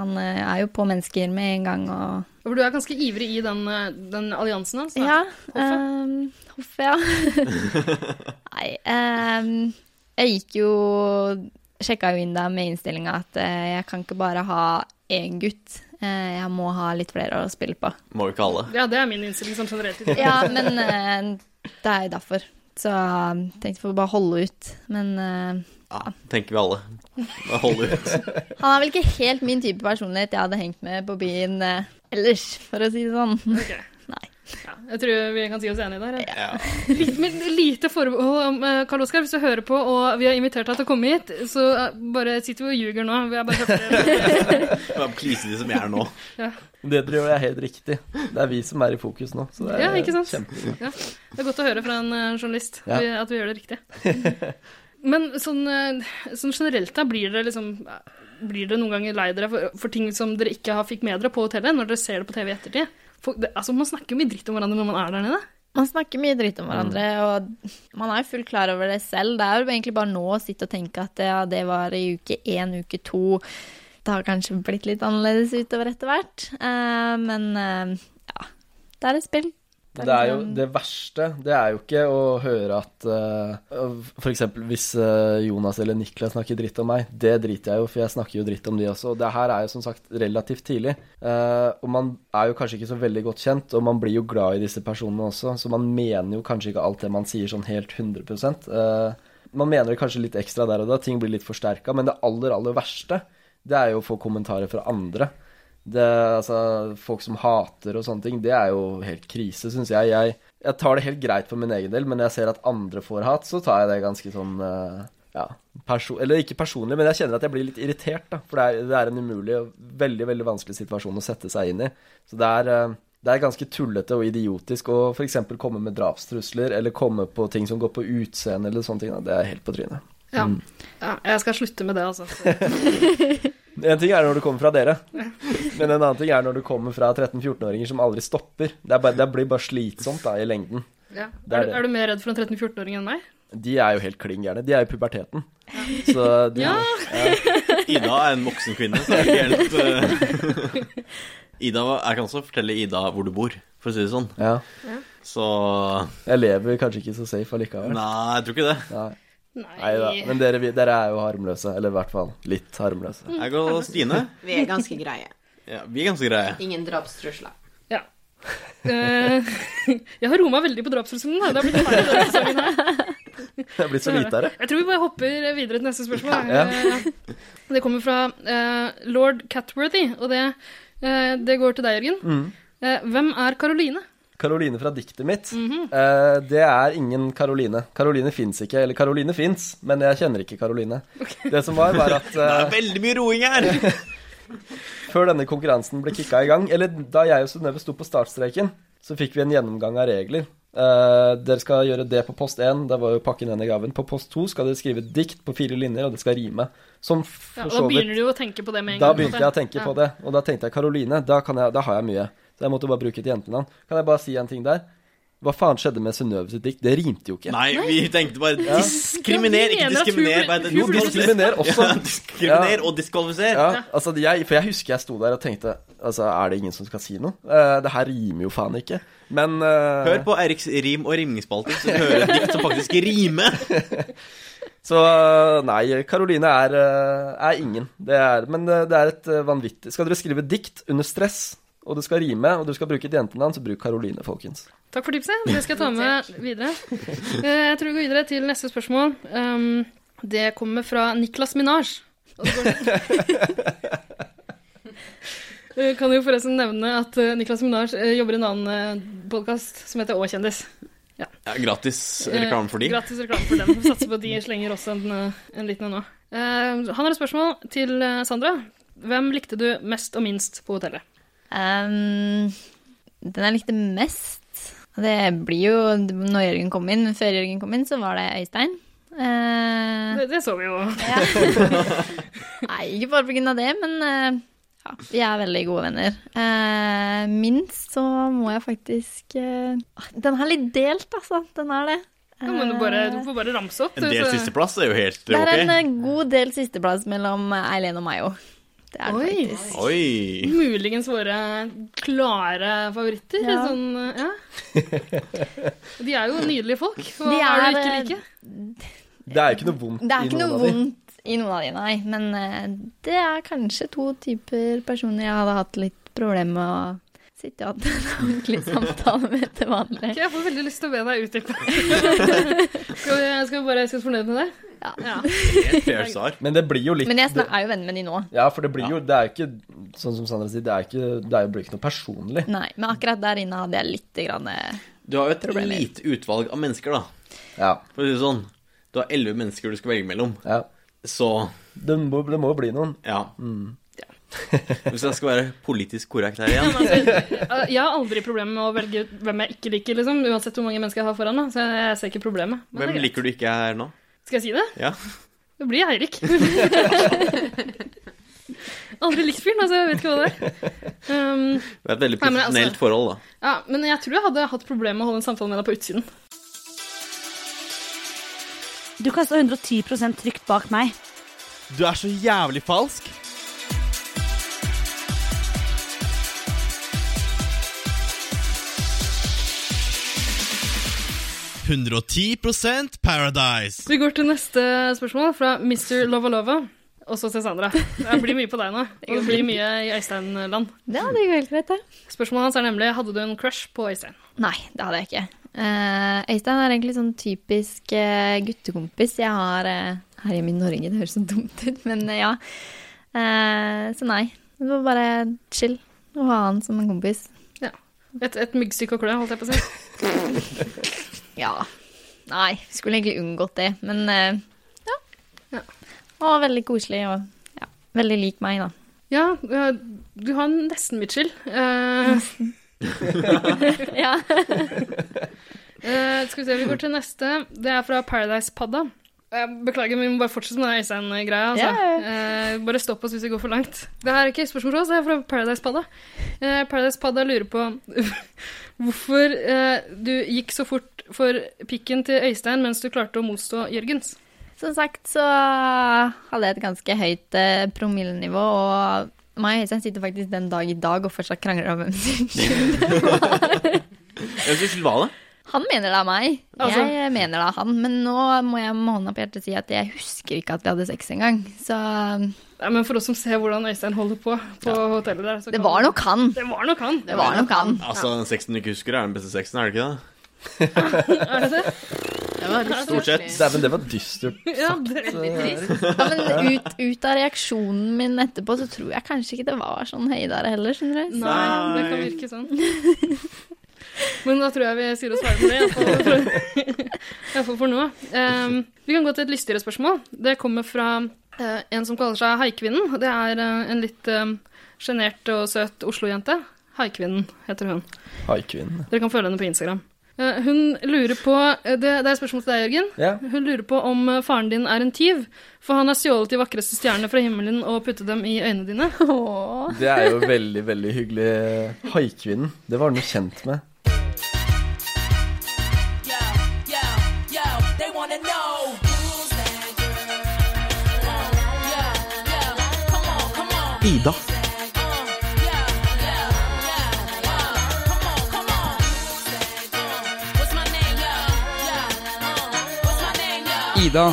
Han eh, er jo på mennesker med en gang og sånn.
For du er ganske ivrig i den, eh, den alliansen hans. da.
Ja.
Hoffet.
ehm, Hoffet, ja. Nei. ehm, jeg gikk jo Sjekka jo inn da med innstillinga at eh, jeg kan ikke bare ha én gutt. Eh, jeg må ha litt flere å spille på.
Må jo ikke alle.
Ja, det er min innstilling sånn generelt. i det.
(laughs) Ja, men eh, det er jo derfor. Så jeg tenkte jeg får bare holde ut. Men eh,
Ja, tenker vi alle. Bare Hold ut.
Han er vel ikke helt min type personlighet jeg hadde hengt med på byen eh, ellers, for å si det sånn.
Ok.
Nei.
Ja, jeg tror vi kan si oss enige der. ja.
Ja.
Litt, men lite forbehold om eh, Karl Oskar, hvis du hører på og vi har invitert deg til å komme hit, så eh, bare sitter vi og ljuger nå. Vi er bare høflige.
Bare Klise de som jeg er nå.
Det tror jeg er helt riktig. Det er vi som er i fokus nå. Så det er
Ja, ikke sant?
kjempe...
Ja, det er godt å høre fra en eh, journalist
Ja.
vi- at vi gjør det riktig. Men sånn, eh, sånn generelt da, blir dere liksom Blir dere noen ganger lei dere for, for ting som dere ikke har fikk med dere på hotellet, når dere ser det på TV i ettertid? For, det, altså, man snakker jo mye dritt om hverandre når man er der nede.
Man snakker mye dritt om hverandre,
Mm.
og man er jo fullt klar over det selv. Det er jo egentlig bare nå å sitte og tenke at ja, det var i uke én, uke to. Det har kanskje blitt litt annerledes utover etter hvert, eh, men eh, ja. Det er et spill. liksom,
Det er liksom- jo det verste. Det er jo ikke å høre at uh, f.eks. hvis eh, Jonas eller Niklas snakker dritt om meg. Det driter jeg jo, for jeg snakker jo dritt om de også. Og det her er jo som sagt relativt tidlig. Eh, og man er jo kanskje ikke så veldig godt kjent, og man blir jo glad i disse personene også, så man mener jo kanskje ikke alt det man sier sånn helt 100 Eh, Man mener det kanskje litt ekstra der og da, ting blir litt forsterka, men det aller, aller verste, det er jo å få kommentarer fra andre. Det, altså, folk som hater og sånne ting, det er jo helt krise, syns jeg. jeg. Jeg tar det helt greit for min egen del, men når jeg ser at andre får hat, så tar jeg det ganske sånn eh, ja, perso Eller ikke personlig, men jeg kjenner at jeg blir litt irritert, da. For det er, det er en umulig og veldig, veldig vanskelig situasjon å sette seg inn i. Så det er, eh, det er ganske tullete og idiotisk å f.eks. komme med drapstrusler, eller komme på ting som går på Mm. utseende eller sånne ting. Da. Det er helt på trynet. (laughs)
Ja. ja. Jeg skal slutte med det, altså.
En ting er når det kommer fra dere, men en annen ting er når det kommer fra 13-14-åringer som aldri stopper. Det, er bare, det blir bare slitsomt da, i lengden.
Ja.
Det
Er,
er
du-
det.
er du mer redd for en 13-14-åring enn meg?
De er jo helt klin gærne. De er jo i puberteten. Så de,
Ja.
Ida er en voksen kvinne, så det er ikke helt eh, Ida, Jeg kan også fortelle Ida hvor du bor, for å si det sånn.
Ja.
Så
Jeg lever kanskje ikke så safe allikevel.
Nei, jeg tror ikke det.
Nei. Neida. Men dere, vi- dere er jo harmløse. Eller i hvert fall litt harmløse.
Jeg og Stine,
Vi er ganske greie.
ja, vi er ganske greie.
Ingen drapstrusler.
Ja. Eh, (laughs) jeg har roma veldig på drapstrusselen. da. Det altså. har
(laughs)
blitt feil denne sesongen her.
Jeg er blitt så lite av det.
Jeg tror vi bare hopper videre til neste spørsmål.
Ja.
Eh, Det kommer fra eh, lord Catworthy, og det, eh, det går til deg, Jørgen.
Mm.
Eh, hvem er Karoline?
Karoline fra diktet mitt.
Mhm.
Eh, det er ingen Karoline. Karoline fins ikke. Eller Karoline fins, men jeg kjenner ikke Karoline. Det som var,
(laughs)
var at
Det er
eh,
veldig mye roing her!
før denne konkurransen ble kicka i gang, eller da jeg og Synnøve sto på startstreken, så fikk vi en gjennomgang av regler. Eh, dere skal gjøre det på post 1, da var jo pakken igjen i gaven. På post 2 skal dere skrive dikt på fire linjer, og det skal rime. Som f-
Ja,
for
og
så
da
vidt
begynner du jo å tenke på det med en
Da
gang.
begynte jeg å tenke på det, og da tenkte jeg Karoline, da, kan jeg, da har jeg mye. Så jeg måtte bare bruke et jentenavn. Kan jeg bare si en ting der? Hva faen skjedde med Synnøve sitt dikt? Det rimte jo ikke.
Nei, vi tenkte bare diskriminer,
Ja,
ikke
vi mener
diskriminer.
at hun blir-
bare-
Jo, diskriminer (laughs) også.
Ja, diskriminer og diskvalifiser.
Ja, altså jeg, For jeg husker jeg sto der og tenkte Altså, er det ingen som skal si noe? Eh, det her rimer jo faen ikke. Men eh,
Hør på Eriks rim- og rimningsspalter, så du hører et dikt som faktisk rimer.
Så eh, nei, Karoline er, eh, er ingen. Det er, men eh, det er et eh, vanvittig Skal dere skrive dikt under stress, og det skal rime, og du skal bruke et jentenavn, så bruk Karoline, folkens.
Takk for tipset. Det
(laughs)
skal jeg ta med videre. Eh, Jeg tror vi går videre til neste spørsmål. Um, det kommer fra Niklas Minaj. Og det
(laughs)
går- Eh, Kan jo forresten nevne at eh, Niklas Minaj eh, jobber i en annen podkast som heter Å kjendis.
Ja, gratis reklame for de.
Eh, Gratis reklame for dem. Vi satser på at de slenger også en, eh, en liten en nå. Eh, han har et spørsmål til eh, Sandra. Hvem likte du mest og minst på hotellet?
Ehm, den jeg likte mest og Det blir jo når Jørgen kom inn. men Før Jørgen kom inn, så var det Øystein. Eh,
Det, det så vi jo.
(laughs) nei, ikke bare pga. det, men eh, ja, vi er veldig gode venner. Eh, minst så må jeg faktisk eh, Den er litt delt, altså. Den er det.
Ja, men du, bare, du får bare ramse opp.
En del
så-
sisteplass er jo helt
Det er en
ok.
eh, god del sisteplass mellom eh, Eileen og meg òg. Det er det
Oi.
faktisk.
Oi.
Muligens våre klare favoritter.
Ja.
Sånn, ja. De er jo nydelige folk. Hva
De
er, det du ikke
er,
liker?
Det er jo ikke noe vondt
Det er ikke
i noen
noe
av de.
vondt i noen av de, nei. Men eh, det er kanskje to typer personer jeg hadde hatt litt problemer med å sitte og ha en (laughs) ordentlig samtale med til vanlig.
Ok, jeg får veldig lyst til å be deg utdype.
(laughs)
skal, vi, skal vi bare si oss fornøyd med det?
Ja.
Helt fair svar.
Men det blir jo litt
Men jeg snak- er jo venn med de nå.
Ja, for det blir jo Det er jo ikke Sånn som Sandra sier, det er jo ikke, det er jo blir ikke noe personlig.
Nei, men akkurat der inne hadde jeg litt grann, eh,
Du har jo et
Problemer.
lite utvalg av mennesker, da.
Ja.
For å si det sånn. Du har elleve mennesker du skal velge mellom.
ja.
Så
Det må, det må jo bli noen.
ja. Hvis jeg skal være politisk korrekt her igjen
Eh, Jeg har aldri problemer med å velge ut hvem jeg ikke liker, liksom, uansett hvor mange mennesker jeg har foran meg. Så jeg ser ikke problemet. Men
Hvem
det er greit.
liker du ikke her nå?
Skal jeg si det?
Ja.
Det blir Eirik. (laughs) aldri likt fyren, altså. Jeg vet ikke hva det er. Um,
Det er et veldig
Nei, men altså-
profesjonelt forhold, da.
Ja, men jeg tror jeg hadde hatt problemer med å holde en samtale med deg på utsiden.
Du kan stå 110 trygt bak meg.
Du er så jævlig falsk. prosent Paradise.
Vi går til neste spørsmål fra Mr. Lovalova. Også til Sandra. Det blir mye på deg nå. Og det blir mye i Øystein-land.
Ja, det går helt greit, det.
Spørsmålet hans er nemlig hadde du en crush på Øystein.
Nei, det hadde jeg ikke. Eh, Øystein er egentlig sånn typisk eh, guttekompis jeg har eh, her hjemme i Norge. Det høres så dumt ut, men eh, ja. Eh, så nei. Det var bare chill å ha han som en kompis.
Et, et myggstykke å klø, holdt jeg på å si.
Ja. Nei, skulle egentlig unngått det, men eh, ja. Og veldig koselig og ja, veldig lik meg, da.
Ja, eh, du har nesten Mitchell. Eh,
Ja.
eh, skal vi se, vi går til neste. Det er fra Paradise Padda. Jeg beklager, men vi må bare fortsette med den Øystein-greia. Altså. Eh, bare stopp oss hvis vi går for langt. Det her er ikke et spørsmål fra oss, det er fra Paradise Padda. Eh, Paradise Padda lurer på (laughs) hvorfor eh, du gikk så fort for pikken til Øystein mens du klarte å motstå Jørgens.
Som sagt så hadde jeg et ganske høyt eh, promillenivå, og meg og Øystein sitter faktisk den dag i dag og fortsatt krangler om hvem sin skyld det var.
Hvem sin skyld var det?
(laughs) Han mener det er meg,
Altså-
jeg mener det er han, men nå må jeg med hånda på hjertet si at jeg husker ikke at vi hadde sex engang, så um,
Ja, men for oss som ser hvordan Øystein holder på på hotellet der så
Det
kan-
var nok han.
Det var nok han.
Det var nok han.
Altså, den sexen du ikke husker, er den beste sexen, er det ikke det?
Er det det?
Stort sett.
Dæven, det var dystert.
(laughs) Ja, det er
veldig trist. Ja, men ut, ut av reaksjonen min etterpå så tror jeg kanskje ikke det var sånn høydere heller, skjønner du. Så-
Nei, det kan virke sånn. (laughs) Men da tror jeg vi sier oss ferdig med det, i hvert fall for- i hvert fall for nå. Ehm, vi kan gå til et lystigere spørsmål. Det kommer fra eh, en som kaller seg Haikvinnen. Det er eh, en litt eh, sjenert og søt Oslo-jente. Haikvinnen heter hun.
Haikvinnen.
Dere kan følge henne på Instagram. Eh, Hun lurer på eh, Det, det er et spørsmål til deg, Jørgen.
Ja.
Hun lurer på om eh, faren din er en tyv, for han har stjålet de vakreste stjernene fra himmelen og puttet dem i øynene dine. (laughs)
Det er jo veldig, veldig hyggelig. Haikvinnen. Det var noe kjent med.
Ida.
Ida.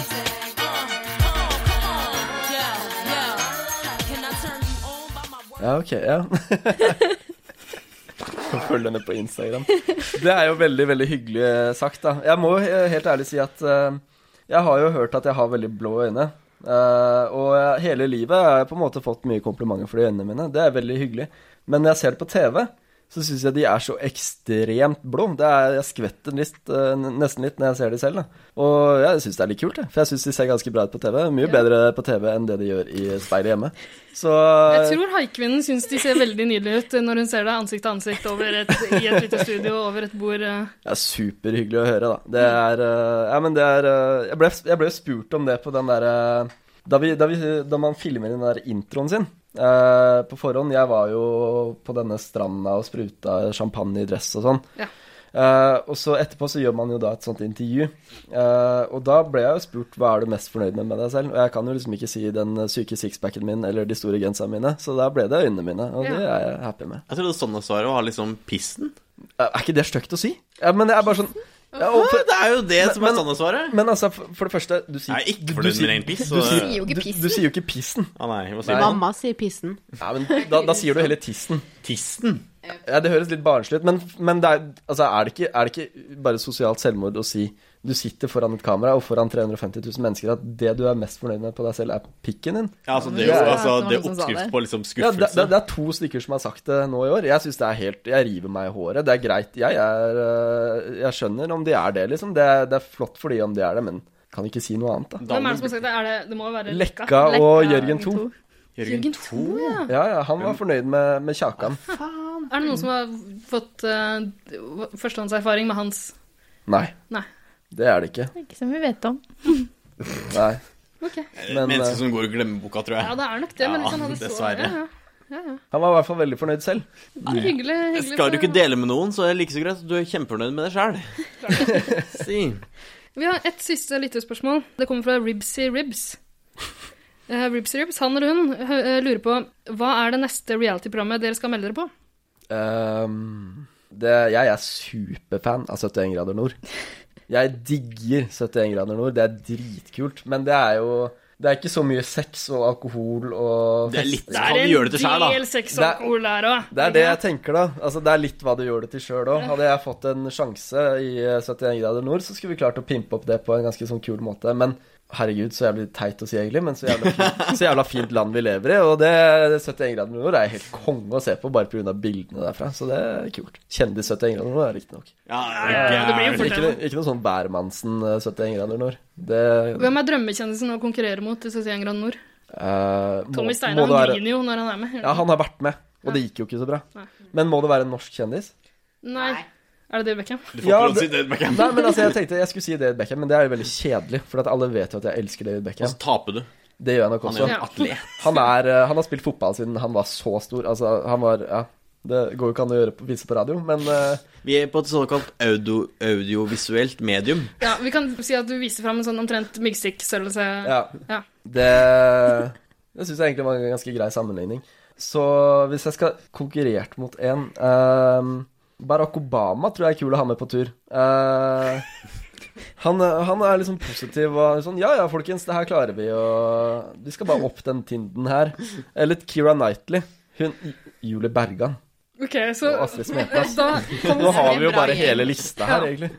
Ja, ok, ja. (laughs) Følg henne på Instagram. Det er jo veldig, veldig hyggelig sagt, da. Jeg må eh, helt ærlig si at eh, jeg har jo hørt at jeg har veldig blå øyne. Eh, og jeg- hele livet har jeg på en måte fått mye komplimenter for de øynene mine. Det er veldig hyggelig. Men når jeg ser det på TV, så syns jeg de er så ekstremt blå. Det er, jeg skvetter litt, eh, nesten litt når jeg ser de selv. Da. Og jeg syns det er litt kult, jeg. for jeg syns de ser ganske bra ut på TV. Mye bedre på TV enn det de gjør i speilet hjemme. Så
Jeg
Eh,
tror haikvinnen syns de ser veldig nydelige ut eh, når hun ser deg ansikt til ansikt over et, i et lite studio over et bord. eh.
Det er superhyggelig å høre, da. Det er eh, Ja, men det er eh, Jeg ble, jeg ble spurt om det på den derre da, vi- da, vi- da man filmer den der introen sin eh, på forhånd Jeg var jo på denne stranda og spruta champagne i dress og sånn.
Ja.
Eh, og så etterpå så gjør man jo da et sånt intervju. Eh, og da ble jeg jo spurt hva er du mest fornøyd med med deg selv. Og jeg kan jo liksom ikke si den syke sixpacken min eller de store genserne mine, så da ble det øynene mine, og det
Ja.
er jeg happy med. Eh,
Jeg trodde sånne svaret var liksom pissen.
Er ikke det stygt å si? Ja, men det er bare sånn ja, og for-
Det er jo det som er
Men-
sannhetsvaret.
Men altså, for, for det første du sier,
Jeg er ikke
du- du
fornøyd med
sier-
egen piss,
du
så-
sier-
Du sier jo ikke
du- Du
pissen.
sier jo ikke pissen.
Ah, nei, hva sier
Nei.
du?
Mamma sier pissen.
Ja, men da, da sier du heller tissen.
Tissen?
Ja, Det høres litt barnslig ut, men, men det er, altså, er, det ikke, er det ikke bare sosialt selvmord å si du sitter foran et kamera og foran 350 000 mennesker at det du er mest fornøyd med på deg selv, er pikken din?
Ja, altså, det er jo altså, det er oppskrift på liksom
Ja, det, det,
skuffelse.
det er to stykker som har sagt det nå i år. Jeg synes det er helt Jeg river meg i håret. Det er greit. Jeg, er, øh, jeg skjønner om de er det, liksom. Det, er- det er flott for de om de er det, men kan ikke si noe annet, da.
Hvem er det som har sagt det? Er det, det må jo være Lekka.
Lekka og Jørgen 2.
Jørgen 2, ja.
Ja, ja, han var fornøyd med, med Kjakan.
Er det noen som har fått eh, førstehåndserfaring med hans
Nei,
Nei.
det er det ikke.
Ikke som vi vet om.
Nei.
Ok.
Men,
Mennesker
eh,
som går i glemmeboka, tror jeg.
Ja, det er nok det, men
Ja,
hvis han hadde så
dessverre.
Ja, ja. ja, ja.
Han var i hvert fall veldig fornøyd selv.
Det er hyggelig. hyggelig
Skal du
for-
ikke dele med noen, så er det like så greit at du er kjempefornøyd med deg sjæl. (laughs) Si.
Vi har et siste lyttespørsmål. Det kommer fra Ribsy Ribs. Eh, Ribsy Ribs, han eller hun, hø- eh, lurer på hva er det neste reality-programmet dere skal melde dere på?
Ehm, det, jeg er superfan av 71 grader nord. Jeg digger 71 grader nord. Det er dritkult. Men det er jo Det er ikke så mye sex og alkohol og
Det er litt
festing.
hva du gjør det til sjæl, da.
Det er-
alkohol der òg.
Det er det jeg tenker, da. Altså, det er litt hva du gjør det til sjøl òg. Hadde jeg fått en sjanse i eh, 71 grader nord, så skulle vi klart å pimpe opp det på en ganske sånn kul måte. Men herregud, så jævlig teit å si egentlig, men så jævla fint, så jævla fint land vi lever i. Og det 71 grader nord er helt konge å se på, bare pga. bildene derfra. Så det er kult. Kjendis 71 grader nord er riktignok.
Ja,
Ikke, noe- ikke noe sånn Bærmannsen eh, 71 grader nord. Det
Hvem er drømmekjendisen å konkurrere mot i 71 Grand Nord?
eh, må-
Tommy
må
Steinar
det være-
griner jo når han er med.
Ja, han har vært med, og det gikk jo ikke så bra. Men må det være en norsk kjendis?
Nei. Er det David Beckham?
Du får ikke lov til å si David Beckham.
Nei, men altså, jeg tenkte jeg skulle si David Beckham, men det er jo veldig kjedelig. For at alle vet jo at jeg elsker David Beckham.
Og så taper du.
Det gjør jeg nok
Han
også.
er jo en atlet.
Han, er, eh, han har spilt fotball siden han var så stor. Altså, han var Ja. Det går jo ikke an å gjøre på, vise på radio, men eh,
Vi er på et såkalt audio, audiovisuelt medium.
Ja, vi kan si at du viser fram en sånn omtrent myggstikkstørrelse.
Ja.
ja.
Det, det syns jeg egentlig var en ganske grei sammenligning. Så hvis jeg skal konkurrert mot en ehm, Barack Obama tror jeg er kul å ha med på tur. Eh, han, han er liksom positiv og sånn Ja ja, folkens, det her klarer vi, og vi skal bare opp den tinden her. Eller Keira Knightley. Hun Julie Bergan.
Ok, så Eh,
Og Astrid Smeplass.
Da kommer
Nå har vi jo
bra
bare
gjeng.
hele lista her, egentlig.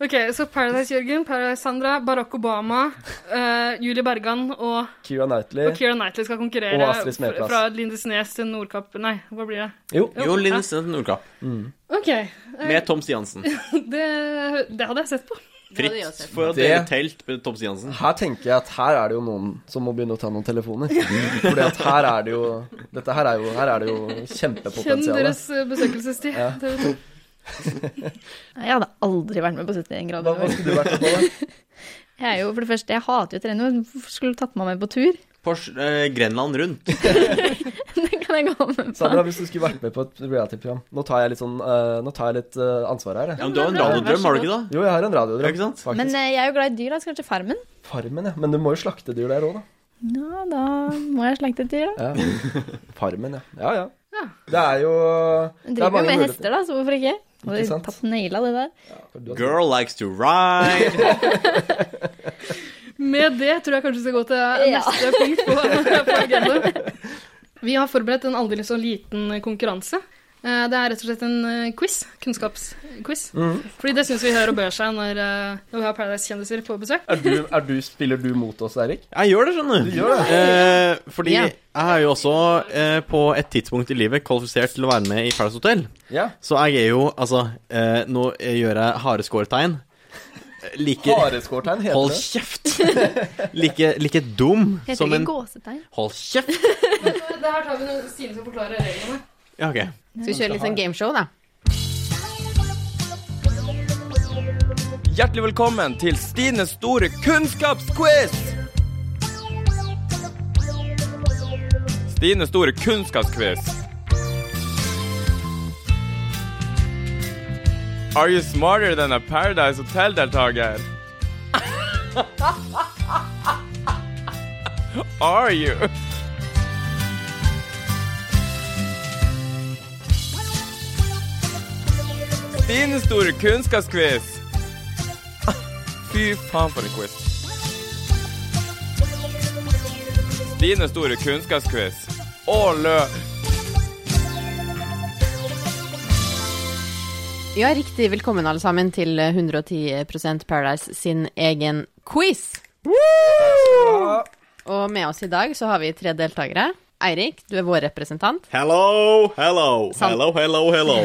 Ok, så Paradise Jørgen, Paradise Sandra, Barack Obama, eh, Julie Bergan og,
Keira Knightley.
og Keira Knightley skal konkurrere
Og Astrid Smeplass.
fra- fra Lindesnes til Nordkapp Nei, hva blir det?
Jo.
Jo, Linn Stensen Nordkapp.
Ok. eh,
Med Tom Stiansen.
det, det hadde jeg sett på.
Fritt for å
Det-
dele telt med Tom Stiansen.
Her tenker jeg at her er det jo noen som må begynne å ta noen telefoner. Fordi at her er det jo Dette her er jo, her er det jo
Kjenn deres
kjempepotensial.
eh, besøkelsestid.
Ja.
Det vet du.
Jeg hadde aldri vært med på 71 grader.
Hva skulle du vært med på,
Jeg er jo for det første, jeg hater jo trening. Hvorfor skulle du tatt meg med på tur?
Porsche, eh, Grenland rundt.
(laughs) Det kan jeg gå med på.
Sandra, hvis du skulle vært med på et reality-program Nå tar jeg litt, sånn, eh, nå tar jeg litt eh, ansvar her. jeg.
Ja, men du har en radiodrøm, har du ikke det?
Jo, jeg har en radiodrøm. Ikke sant?
Men
Faktisk.
eh, jeg er jo glad i dyr, da. Så kanskje Farmen?
Farmen, ja. Men du må jo slakte dyr der òg, da.
Ja, da må jeg slenge til dyr, da.
Ja. Farmen, ja. Ja, ja.
Ja.
Det er jo
Jeg
Det er
driver jo
mange
med
muligheter.
hester, da, så hvorfor ikke?
Ikke
Hadde
sant?
tatt naila det der.
Girl likes to ride.
Med det tror jeg kanskje vi skal gå til
Ja.
neste punkt på, på agendaen. (laughs) Vi har forberedt en aldri så liten konkurranse. Eh, Det er rett og slett en eh, quiz. Kunnskapsquiz.
Mhm.
Fordi det syns vi hører og bør seg når, eh, når vi har Paradise-kjendiser på besøk.
Er du, er du, spiller du mot oss, Eirik?
Jeg gjør det, skjønner du.
Du gjør det.
Eh, fordi
Ja.
jeg er jo også eh, på et tidspunkt i livet kvalifisert til å være med i Paradise Hotel.
Ja.
Så jeg er jo, altså eh, Nå gjør jeg hareskårtegn. Eh, Like,
Hareskårtegn heter
Hold
det.
kjeft! like, like dum
Heter
som
det
en
ikke gåsetegn?
Hold kjeft!
Det her tar vi når Stine skal forklare reglene.
Ja, ok.
Skal vi kjøre litt sånn gameshow, da?
Hjertelig velkommen til Stines store kunnskapsquiz! Stines store kunnskapsquiz. Are you smarter than a Paradise Hotel-deltaker? Are you? Stines store kunnskapsquiz. Fy faen for en quiz. Dine store kunnskapsquiz. Og lø...
Ja, riktig. Velkommen alle sammen til 110 Paradise sin egen quiz.
Ah,
Og med oss i dag så har vi tre deltakere. Eirik, du er vår representant. (laughs)
Hello, hello,
Sant.
hello, hello, hello.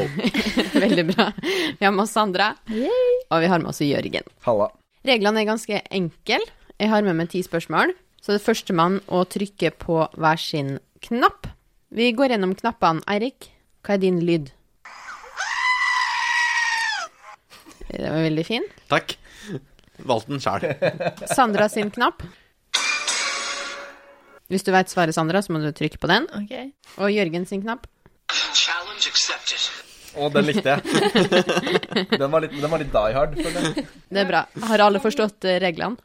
Veldig bra. Vi har med oss Sandra, og vi har med oss Jørgen.
Halla.
Reglene er ganske enkle. Jeg har med meg ti spørsmål. Så det er førstemann å trykke på hver sin knapp. Vi går gjennom knappene. Eirik, hva er din lyd? Den var veldig fin.
Takk. Valgte den sjæl.
Sandra sin knapp. Hvis du veit svaret, Sandra, så må du trykke på den. Og Jørgen sin knapp.
Challenge accepted.
Å, den likte jeg.
(laughs)
Den var litt, den var litt die hard. føler jeg.
Det er bra. Har alle forstått eh, reglene?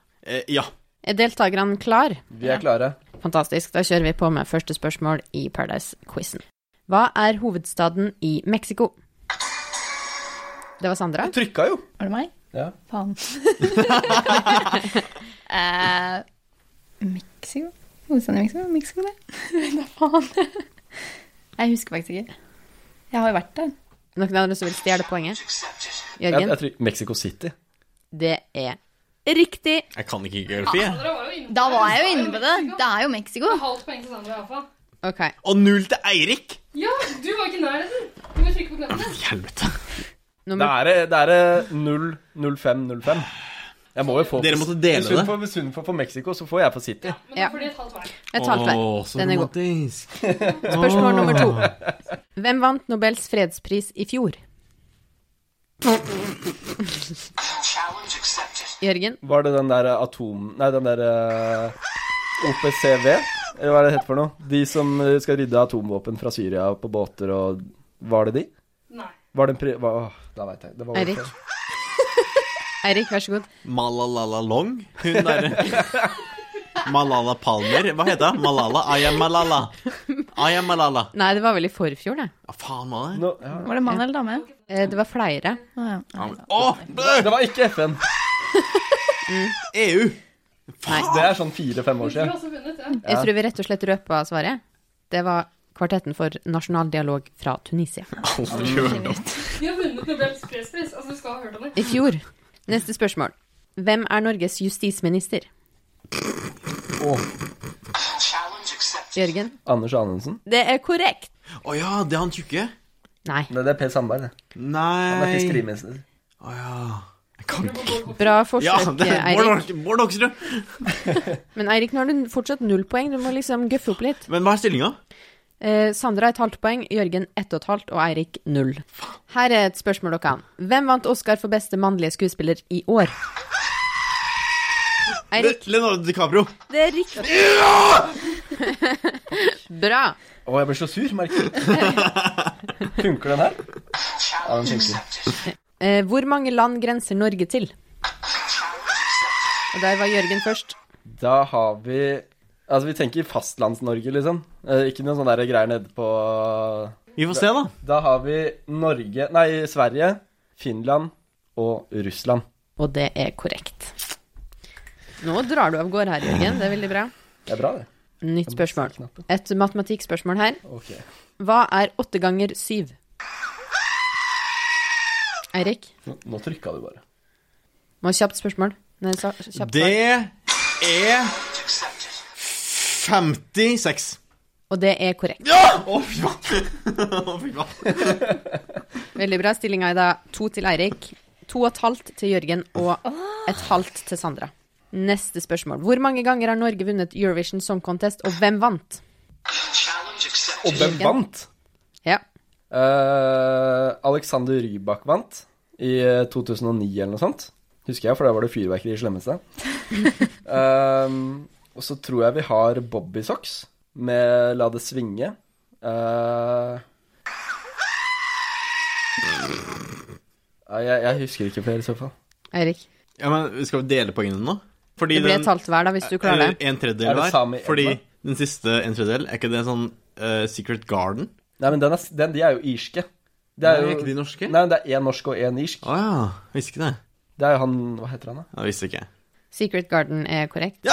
ja.
Er deltakerne klar?
Vi er klare.
Fantastisk. Da kjører vi på med første spørsmål i Paradise-quizen. Hva er hovedstaden i Mexico? Det var Sandra.
Jeg trykka jo.
Var det meg?
Ja.
(laughs) Faen. eh, Mexico? Hovedstaden i Mexico? Mexico, (laughs) det? Da faen. Jeg husker faktisk ikke. Jeg har jo vært der.
Noen andre som vil stjele poenget?
Jeg,
Jørgen?
jeg tryk, Mexico City.
Det er riktig.
Jeg kan ikke geografi, jeg.
Da var jeg jo inne på det. Det er jo Mexico.
Halvt poeng til Sandra, iallfall.
Ok.
Og null til Eirik!
Ja, du var ikke i nærheten! Du må trykke på knappen.
Helvete.
Det er, eh, det er 0-0-5-0-5. Jeg må jo få
Dere måtte dele
Hvis hun
det.
får- Hvis hun får for Mexico, så får jeg for City.
Men da får de et halvt hver.
Et halvt hver.
Åh, så
Den er god.
romantisk.
Spørsmål nummer to. Hvem vant Nobels fredspris i fjor? Jørgen?
Var det den der eh, atom... Nei, den der eh, OPCV? Eller hva er det het for noe? De som eh, skal rydde atomvåpen fra Syria på båter og Var det de?
Nei.
Var det en pri... Hva, åh, da veit jeg. Det var (laughs)
Eirik. Eirik, vær så god.
Malalala Long? Hun derre (laughs) Malala Palmer? Hva heter hun? Malala? Aya Malala. Aya Malala.
Nei, det var vel i forfjor, det.
Faen, hva er det?
Var det mann eller dame?
Eh, Det var flere.
Åh,
Det var ikke FN.
EU.
Faen. Det er sånn fire-fem år siden.
Jeg tror vi rett og slett røpa svaret. Det var Kvartetten for nasjonal dialog fra Tunisia.
Aldri hørt om.
Vi har vunnet Nobels fredspris, altså du skal ha hørt om det.
I fjor. Neste spørsmål. Hvem er Norges justisminister? Jørgen?
Anders Anundsen.
Det er korrekt.
Å ja, det er han tjukke?
Nei.
Nei, det er Per Sandberg, det. Han er
Nei
fiskeriminister.
Å ja. Jeg kan ikke
Bra forsøk,
Ja, det er Bård
Eirik.
Hoks- Bård Hoksrud.
Men Eirik, nå har du fortsatt null poeng. Du må liksom gøffe opp litt.
Men hva er stillinga?
Eh, Sandra et halvt poeng, Jørgen ett og et halvt og Eirik null. Her er et spørsmål dere kan. Hvem vant Oscar for beste mannlige skuespiller i år? Eirik,
Eh, Leonardo DiCaprio.
det er riktig. Bra.
Å, jeg ble så sur, (laughs) merker du. Funker den her? Ja, den funker.
Eh, hvor mange land grenser Norge til? Og der var Jørgen først.
Da har vi Altså, vi tenker fastlands-Norge, liksom. Eh, ikke noen sånne der greier nede på
Vi får se, da.
Da har vi Norge Nei, Sverige, Finland og Russland.
Og det er korrekt. Nå drar du av gårde her, Jørgen. Det er veldig bra.
Det er bra, det.
Nytt spørsmål. Et matematikkspørsmål her.
Ok.
Hva er åtte ganger syv? Eirik,
Nå, nå trykka du bare.
må ha kjapt spørsmål. Nei, sa- kjapt svar.
Det er 56.
Og det er korrekt.
Ja! Å, fy faen. Å, fy faen.
Veldig bra. Stillinga er da to til Eirik, to og et halvt til Jørgen og et halvt til Sandra. Neste spørsmål. Hvor mange ganger har Norge vunnet Eurovision Song Contest, og hvem vant?
Og
Jørgen?
hvem vant?
Ja.
Eh, Alexander Rybak vant i eh, 2009 eller noe sånt. Husker jeg, for da var det fyrverkeri i slemmeste.
(laughs)
Ehm, og så tror jeg vi har Bobby Socks med La det svinge. Eh, Nei, jeg, jeg husker ikke flere i så fall.
Eirik.
Ja, men Skal vi dele poengene nå? Fordi
Det blir
den-
et halvt hver, da, hvis du klarer det.
Eller en
Er
tredjedel
det samme i
hver. Fordi
Edna?
den siste en tredjedel, er ikke det sånn eh, Secret Garden?
Nei, men den er, s- den, de er jo irske. Det
Nei, er ikke de norske?
Nei, det er én norsk og én irsk.
Å ja, visste ikke det.
Det er jo han Hva heter han, da?
Ja, visste ikke jeg.
Secret Garden er korrekt.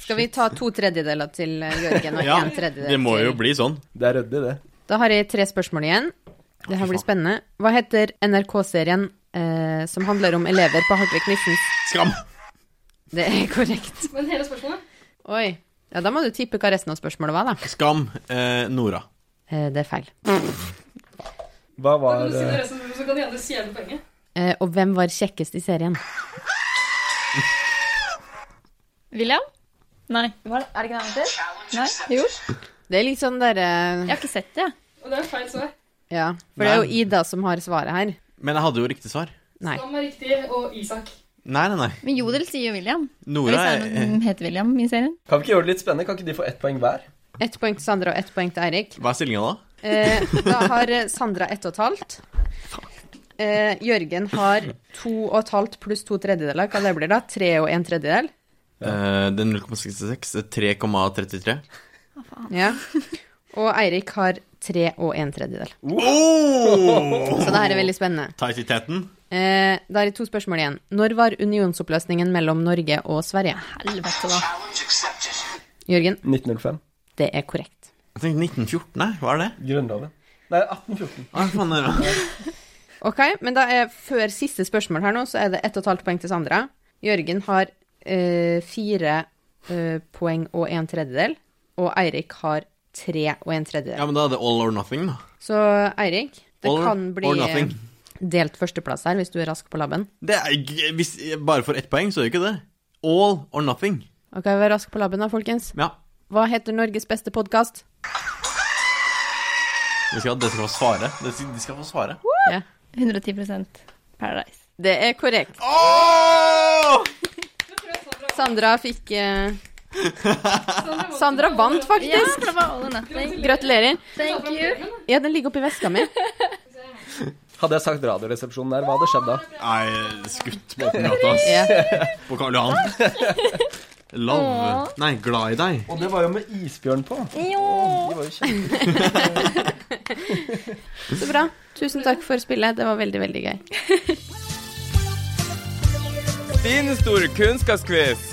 Skal vi ta to tredjedeler til eh, Jørgen og
Ja,
en tredjedel
det må
til
jo bli sånn.
Det er ryddig, det.
Da har jeg tre spørsmål igjen. Det her blir spennende. Hva heter NRK-serien eh, som handler om elever på Hartvig Nissens
Skam!
Det er korrekt.
Men hele spørsmålet?
Oi. Ja, da må du tippe hva resten av spørsmålet var, da.
Skam, eh, Nora.
Eh, det er feil.
Hva var
Kan du si det
eh,
resten, så kan de andre si hele poenget.
Eh, og hvem var kjekkest i serien?
William? Nei. Hva, er det ikke det han heter? Nei? Jo.
Det er litt sånn derre
Jeg har ikke sett det, jeg.
Og det er feil svar.
Ja. For det er jo Ida som har svaret her.
Men jeg hadde jo riktig svar.
Nei.
Sam er riktig, og Isak.
Nei, nei, nei.
Men Jodel sier jo William.
Nora
Eller
er
hvis det er noen som heter William i serien.
Kan vi ikke gjøre det litt spennende? Kan ikke de få ett poeng hver?
Ett poeng til Sandra og ett poeng til Eirik.
Hva er stillinga da?
Eh, da har eh, Sandra ett og et halvt. Eh, Jørgen har to og et halvt pluss to tredjedeler. Hva det blir da? Tre og en tredjedel?
Eh, det er 0,66. det er 3,33.
Ja. Og Eirik har tre og en tredjedel.
Oh!
Så det her er veldig spennende.
Tight i teten.
Eh, da er det to spørsmål igjen. Når var unionsoppløsningen mellom Norge og Sverige?
Helvete, da.
Jørgen,
1905.
det er korrekt.
Jeg tenkte 1914, nei, hva er det?
Grunnloven. Nei, 1814.
Hva faen er det?
Ok, men da er før siste spørsmål her nå, så er det ett og et halvt poeng til Sandra. Jørgen har eh, fire eh, poeng og en tredjedel, og Eirik har tre og en tredjedel.
Ja, men da er det all or nothing, da.
Så Eirik, det
All
kan bli
or nothing.
eh, delt førsteplass her, hvis du er rask på labben.
Det er, g- hvis, bare for ett poeng, så er det ikke det. All or nothing.
Ok, vær rask på labben da, folkens.
Ja.
Hva heter Norges beste podkast?
De skal, de skal få svare. De skal, de skal få svare.
Ja.
110 Paradise.
Det er korrekt. Sandra fikk
(laughs)
eh, Sandra vant, faktisk.
Ja, det var all or nothing.
Gratulerer.
Thank you.
Ja, den ligger oppi veska mi.
Hadde jeg sagt Radioresepsjonen der, hva hadde skjedd da?
Nei, skutt på åpen gate, ass.
Ja.
På Karl Johan. Love Nei, glad i deg.
Og det var jo med isbjørn på.
Så bra. Tusen takk for spillet. Det var veldig, veldig gøy.
Din store kunnskapsquiz.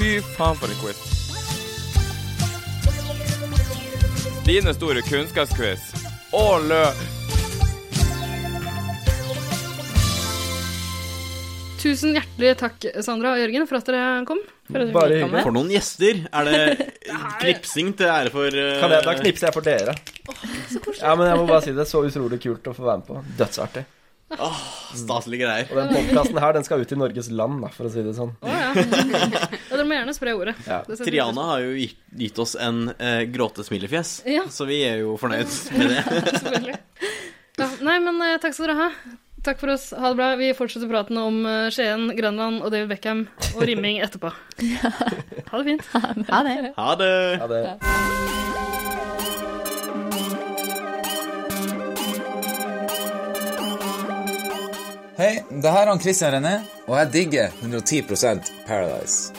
Fy faen for en quiz. Dine store kunnskapsquiz. Å, lø...
Tusen hjertelig takk, Sandra og Jørgen, for at dere kom. For at dere fikk komme.
For noen gjester. Er det knipsing til ære for eh,
Kan jeg, da knipser jeg for dere. Ja, men jeg må bare si det. Så utrolig kult å få være med på. Dødsartig.
Åh, Staselige greier.
Og den podkasten her, den skal ut i Norges land, da, for å si det sånn.
Å, ja. (laughs) ja, dere må gjerne spre ordet. Det setter vi
Triana har jo gitt, gitt oss en eh, gråtesmilefjes,
Ja.
så vi er jo fornøyd med det.
Ja, nei, men eh, takk skal dere ha. Takk for oss. Ha det bra. Vi fortsetter praten om eh, Skien, Grønland og David Beckham og rimming etterpå. Ha det fint.
Ha det.
Ha det.
Ha det.
Hei, det her er han Christian René, og jeg digger 110 Paradise.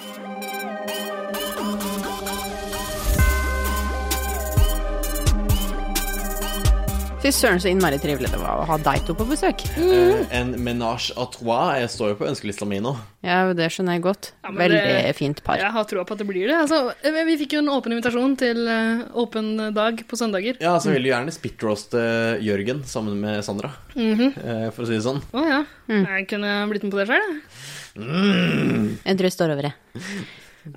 Fy søren, så innmari trivelig det var å ha deg to på besøk.
Eh, en menage à trois jeg står jo på ønskelista mi nå.
Ja, det skjønner jeg godt.
Ja, men
Veldig
det-
fint par.
Jeg har troa på at det blir det. Altså, eh, vi fikk jo en åpen invitasjon til eh, åpen dag på søndager.
Ja, så vil du gjerne spitroaste Jørgen sammen med Sandra,
Mhm.
eh, for å si det sånn.
Å ja. Jeg kunne blitt med på det sjøl, jeg.
Jeg tror jeg står over det.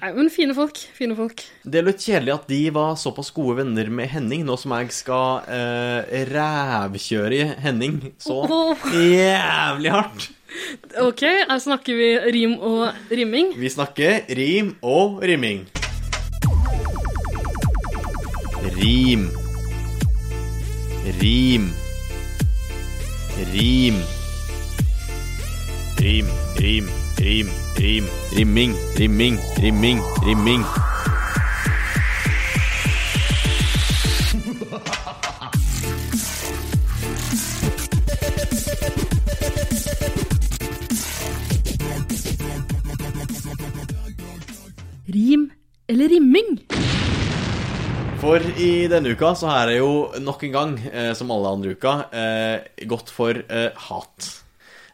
Nei, Men fine folk. Fine folk.
Det er litt kjedelig at de var såpass gode venner med Henning, nå som jeg skal eh, rævkjøre Henning så
Åh.
jævlig hardt.
Ok, her snakker vi rim og rimming.
Vi snakker rim og rimming. Rim. Rim. Rim. Rim, rim, rim, rim. Rimming, rimming, rimming, rimming.
Rim eller rimming?
For i denne uka så er det jo nok en gang, eh, som alle andre uka, eh, gått for eh, hat.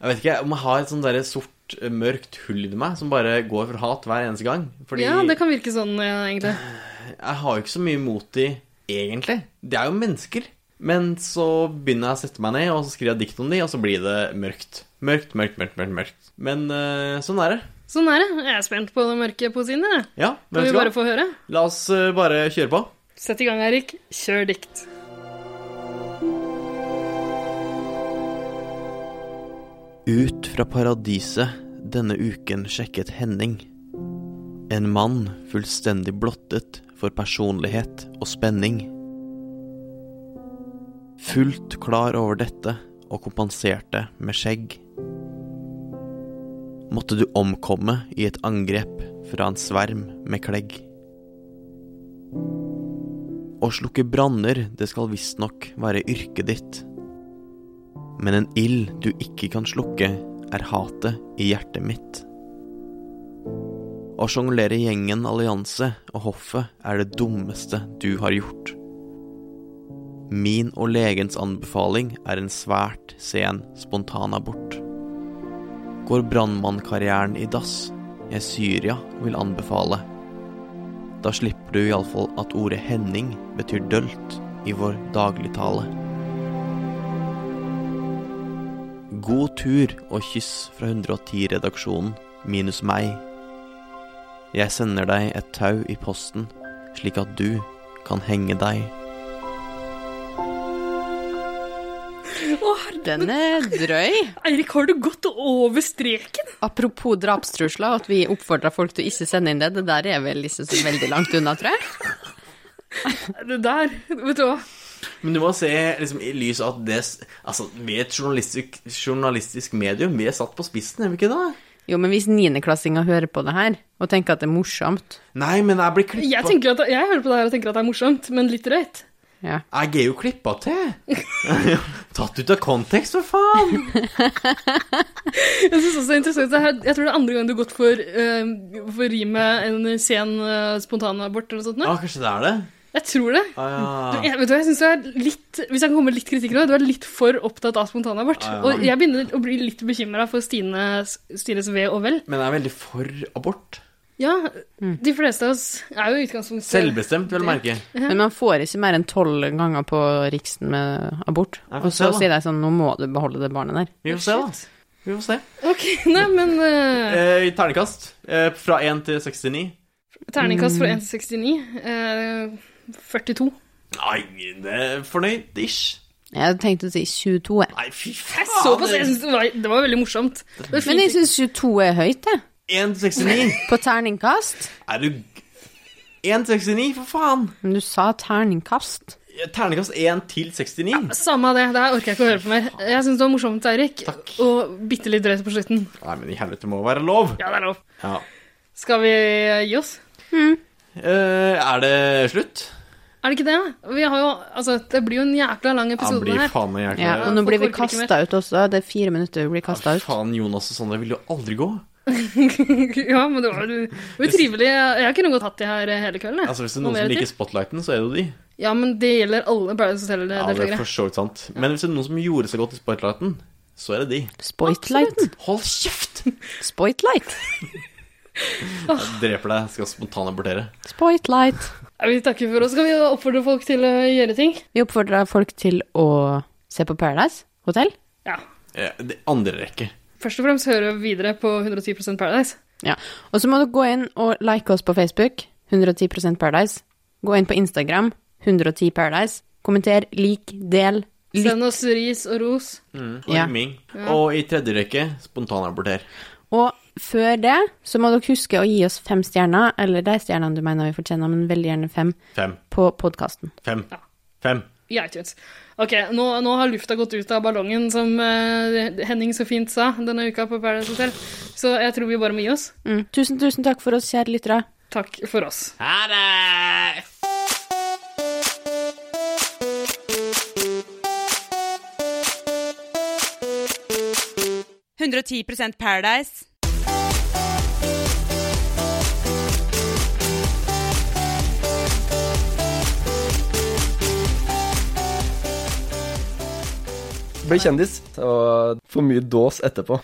Jeg vet ikke om jeg har et sånt derre sort, eh, mørkt hull i meg som bare går for hat hver eneste gang. Fordi
Ja, det kan virke sånn, eh, egentlig.
jeg har jo ikke så mye mot de, egentlig. De er jo mennesker. Men så begynner jeg å sette meg ned, og så skriver jeg dikt om de, og så blir det mørkt. Mørkt, mørkt, mørkt, mørkt. mørkt. Men eh, sånn er det.
Sånn er det. Jeg er spent på den mørke poesien din. jeg.
Ja, vet
Kan vi
du hva?
bare få høre?
La oss eh, bare kjøre på.
Sett i gang, Eirik. Kjør dikt.
Ut fra paradiset denne uken sjekket Henning. En mann fullstendig blottet for personlighet og spenning. Fullt klar over dette og kompenserte med skjegg. Måtte du omkomme i et angrep fra en sverm med klegg. Å slukke branner, det skal visstnok være yrket ditt. Men en ild du ikke kan slukke, er hatet i hjertet mitt. Å sjonglere gjengen Allianse og hoffet er det dummeste du har gjort. Min og legens anbefaling er en svært sen spontanabort. Går brannmannkarrieren i dass, jeg Syria vil anbefale. Da slipper du iallfall at ordet Henning betyr dølt i vår dagligtale. God tur og kyss fra 110-redaksjonen, minus meg. Jeg sender deg et tau i posten, slik at du kan henge deg.
Den er drøy.
Eirik, har du gått over streken?
Apropos drapstrusler, og at vi oppfordrer folk til å ikke sende inn det, det der er vel liksom så veldig langt unna, tror jeg.
Det der, vet du hva.
Men du må se liksom, i lys av at det Altså, vi er et journalistisk, journalistisk medium. Vi er satt på spissen, er vi ikke det?
Jo, men hvis niendeklassinger hører på det her, og tenker at det er morsomt
Nei, men jeg blir klippa
Jeg, tenker at, jeg hører på det her og tenker at det er morsomt, men litt drøyt.
Jeg er jo klippa til! (laughs) Tatt ut av kontekst, for faen!
Jeg synes også det er interessant det her, Jeg tror det er andre gang du har gått for, uh, for rimet en sen eh, spontanabort eller noe sånt.
(laughs)
nå.
Ja, kanskje det er det?
Jeg tror det.
Ah,
Du,
ja.
jeg, vet du, hva, jeg synes du er litt Hvis jeg kan komme med litt kritikk nå, du er litt for opptatt av spontanabort.
Ah, Ja, ja.
Og jeg begynner å bli litt bekymra for Stines, Stines ve og vel.
Men jeg er veldig for abort.
Ja, de fleste av oss er jo i utgangspunktet
Selvbestemt, vel å merke.
Men man får ikke mer enn tolv ganger på Riksen med abort.
Nei, vi får
Og
se,
så
da.
sier de sånn, nå må du beholde det barnet der.
Vi får se, da. Vi får se.
Ok, (laughs) nei, men eh,
Eh, i terningkast eh, fra 1 til 69.
Terningkast fra 1 til 69. eh, 42.
Nei, det er fornøyd ish.
Jeg tenkte å si 22, jeg.
Nei, fy
Jeg så på det, (laughs) det var, det var veldig morsomt. Det var fint.
Men jeg syns 22 er høyt, jeg.
1 til 69.
På terningkast?
Er du 1 til 69, for faen!
Men du sa terningkast.
Terningkast 1 til 69.
Altså, Samme av det, det her orker jeg ikke å høre på mer. Jeg syns det var morsomt, Eirik, og bitte litt drøyt på slutten.
Nei, men i helvete, det må være lov.
Ja, det er lov.
Ja.
Skal vi gi oss?
Eh, er det slutt?
Er det ikke det? Vi har jo, altså, det blir jo en jækla lang episode
blir
her.
faen meg jækla-
Ja, og nå blir vi
Folk orker ikke
kasta ut også. Det er fire minutter vi blir kasta ut.
Faen, Jonas og Sondre vil jo aldri gå.
(laughs) ja, men det var jo det var jo trivelig. Jeg kunne godt hatt de her hele kvelden. jeg.
Altså, Hvis det er
Og
noen
mer
som liker
til.
spotlighten, så er det jo de.
Ja, men det gjelder alle Paradise
Ja, det er
Hotel-deltakere.
for så vidt sant. Men hvis det er noen som gjorde seg godt i spotlighten, så er det de.
Spoitlight.
Hold kjeft!
Spoitlight.
Jeg dreper deg, skal spontanabortere.
Spoitlight.
Ja, vi takker for oss. Skal vi oppfordre folk til å gjøre ting?
Vi oppfordrer folk til å se på Paradise Hotel.
Ja.
Eh, det andre rekke.
Først og fremst høre videre på 110 Paradise.
Ja. Og så må du gå inn og like oss på Facebook, 110 Paradise. Gå inn på Instagram, 110 Paradise. Kommenter, lik, del. Lytt.
Send oss ris og ros.
Mm. Og
Ja.
rimming.
Ja.
Og i tredje rekke, spontanaborter.
Og før det så må dere huske å gi oss fem stjerner, eller de stjernene du mener vi fortjener, men veldig gjerne fem,
Fem.
på podkasten.
Fem. Fem.
I iTunes. Ok, nå, nå har lufta gått ut av ballongen, som eh, Henning så fint sa denne uka på Paradise Hotel. Så jeg tror vi bare må gi oss.
Mm. Tusen, tusen takk for oss, kjære lyttere.
Takk for oss.
Ha det!
Paradise.
Bli kjendis og for mye dås etterpå.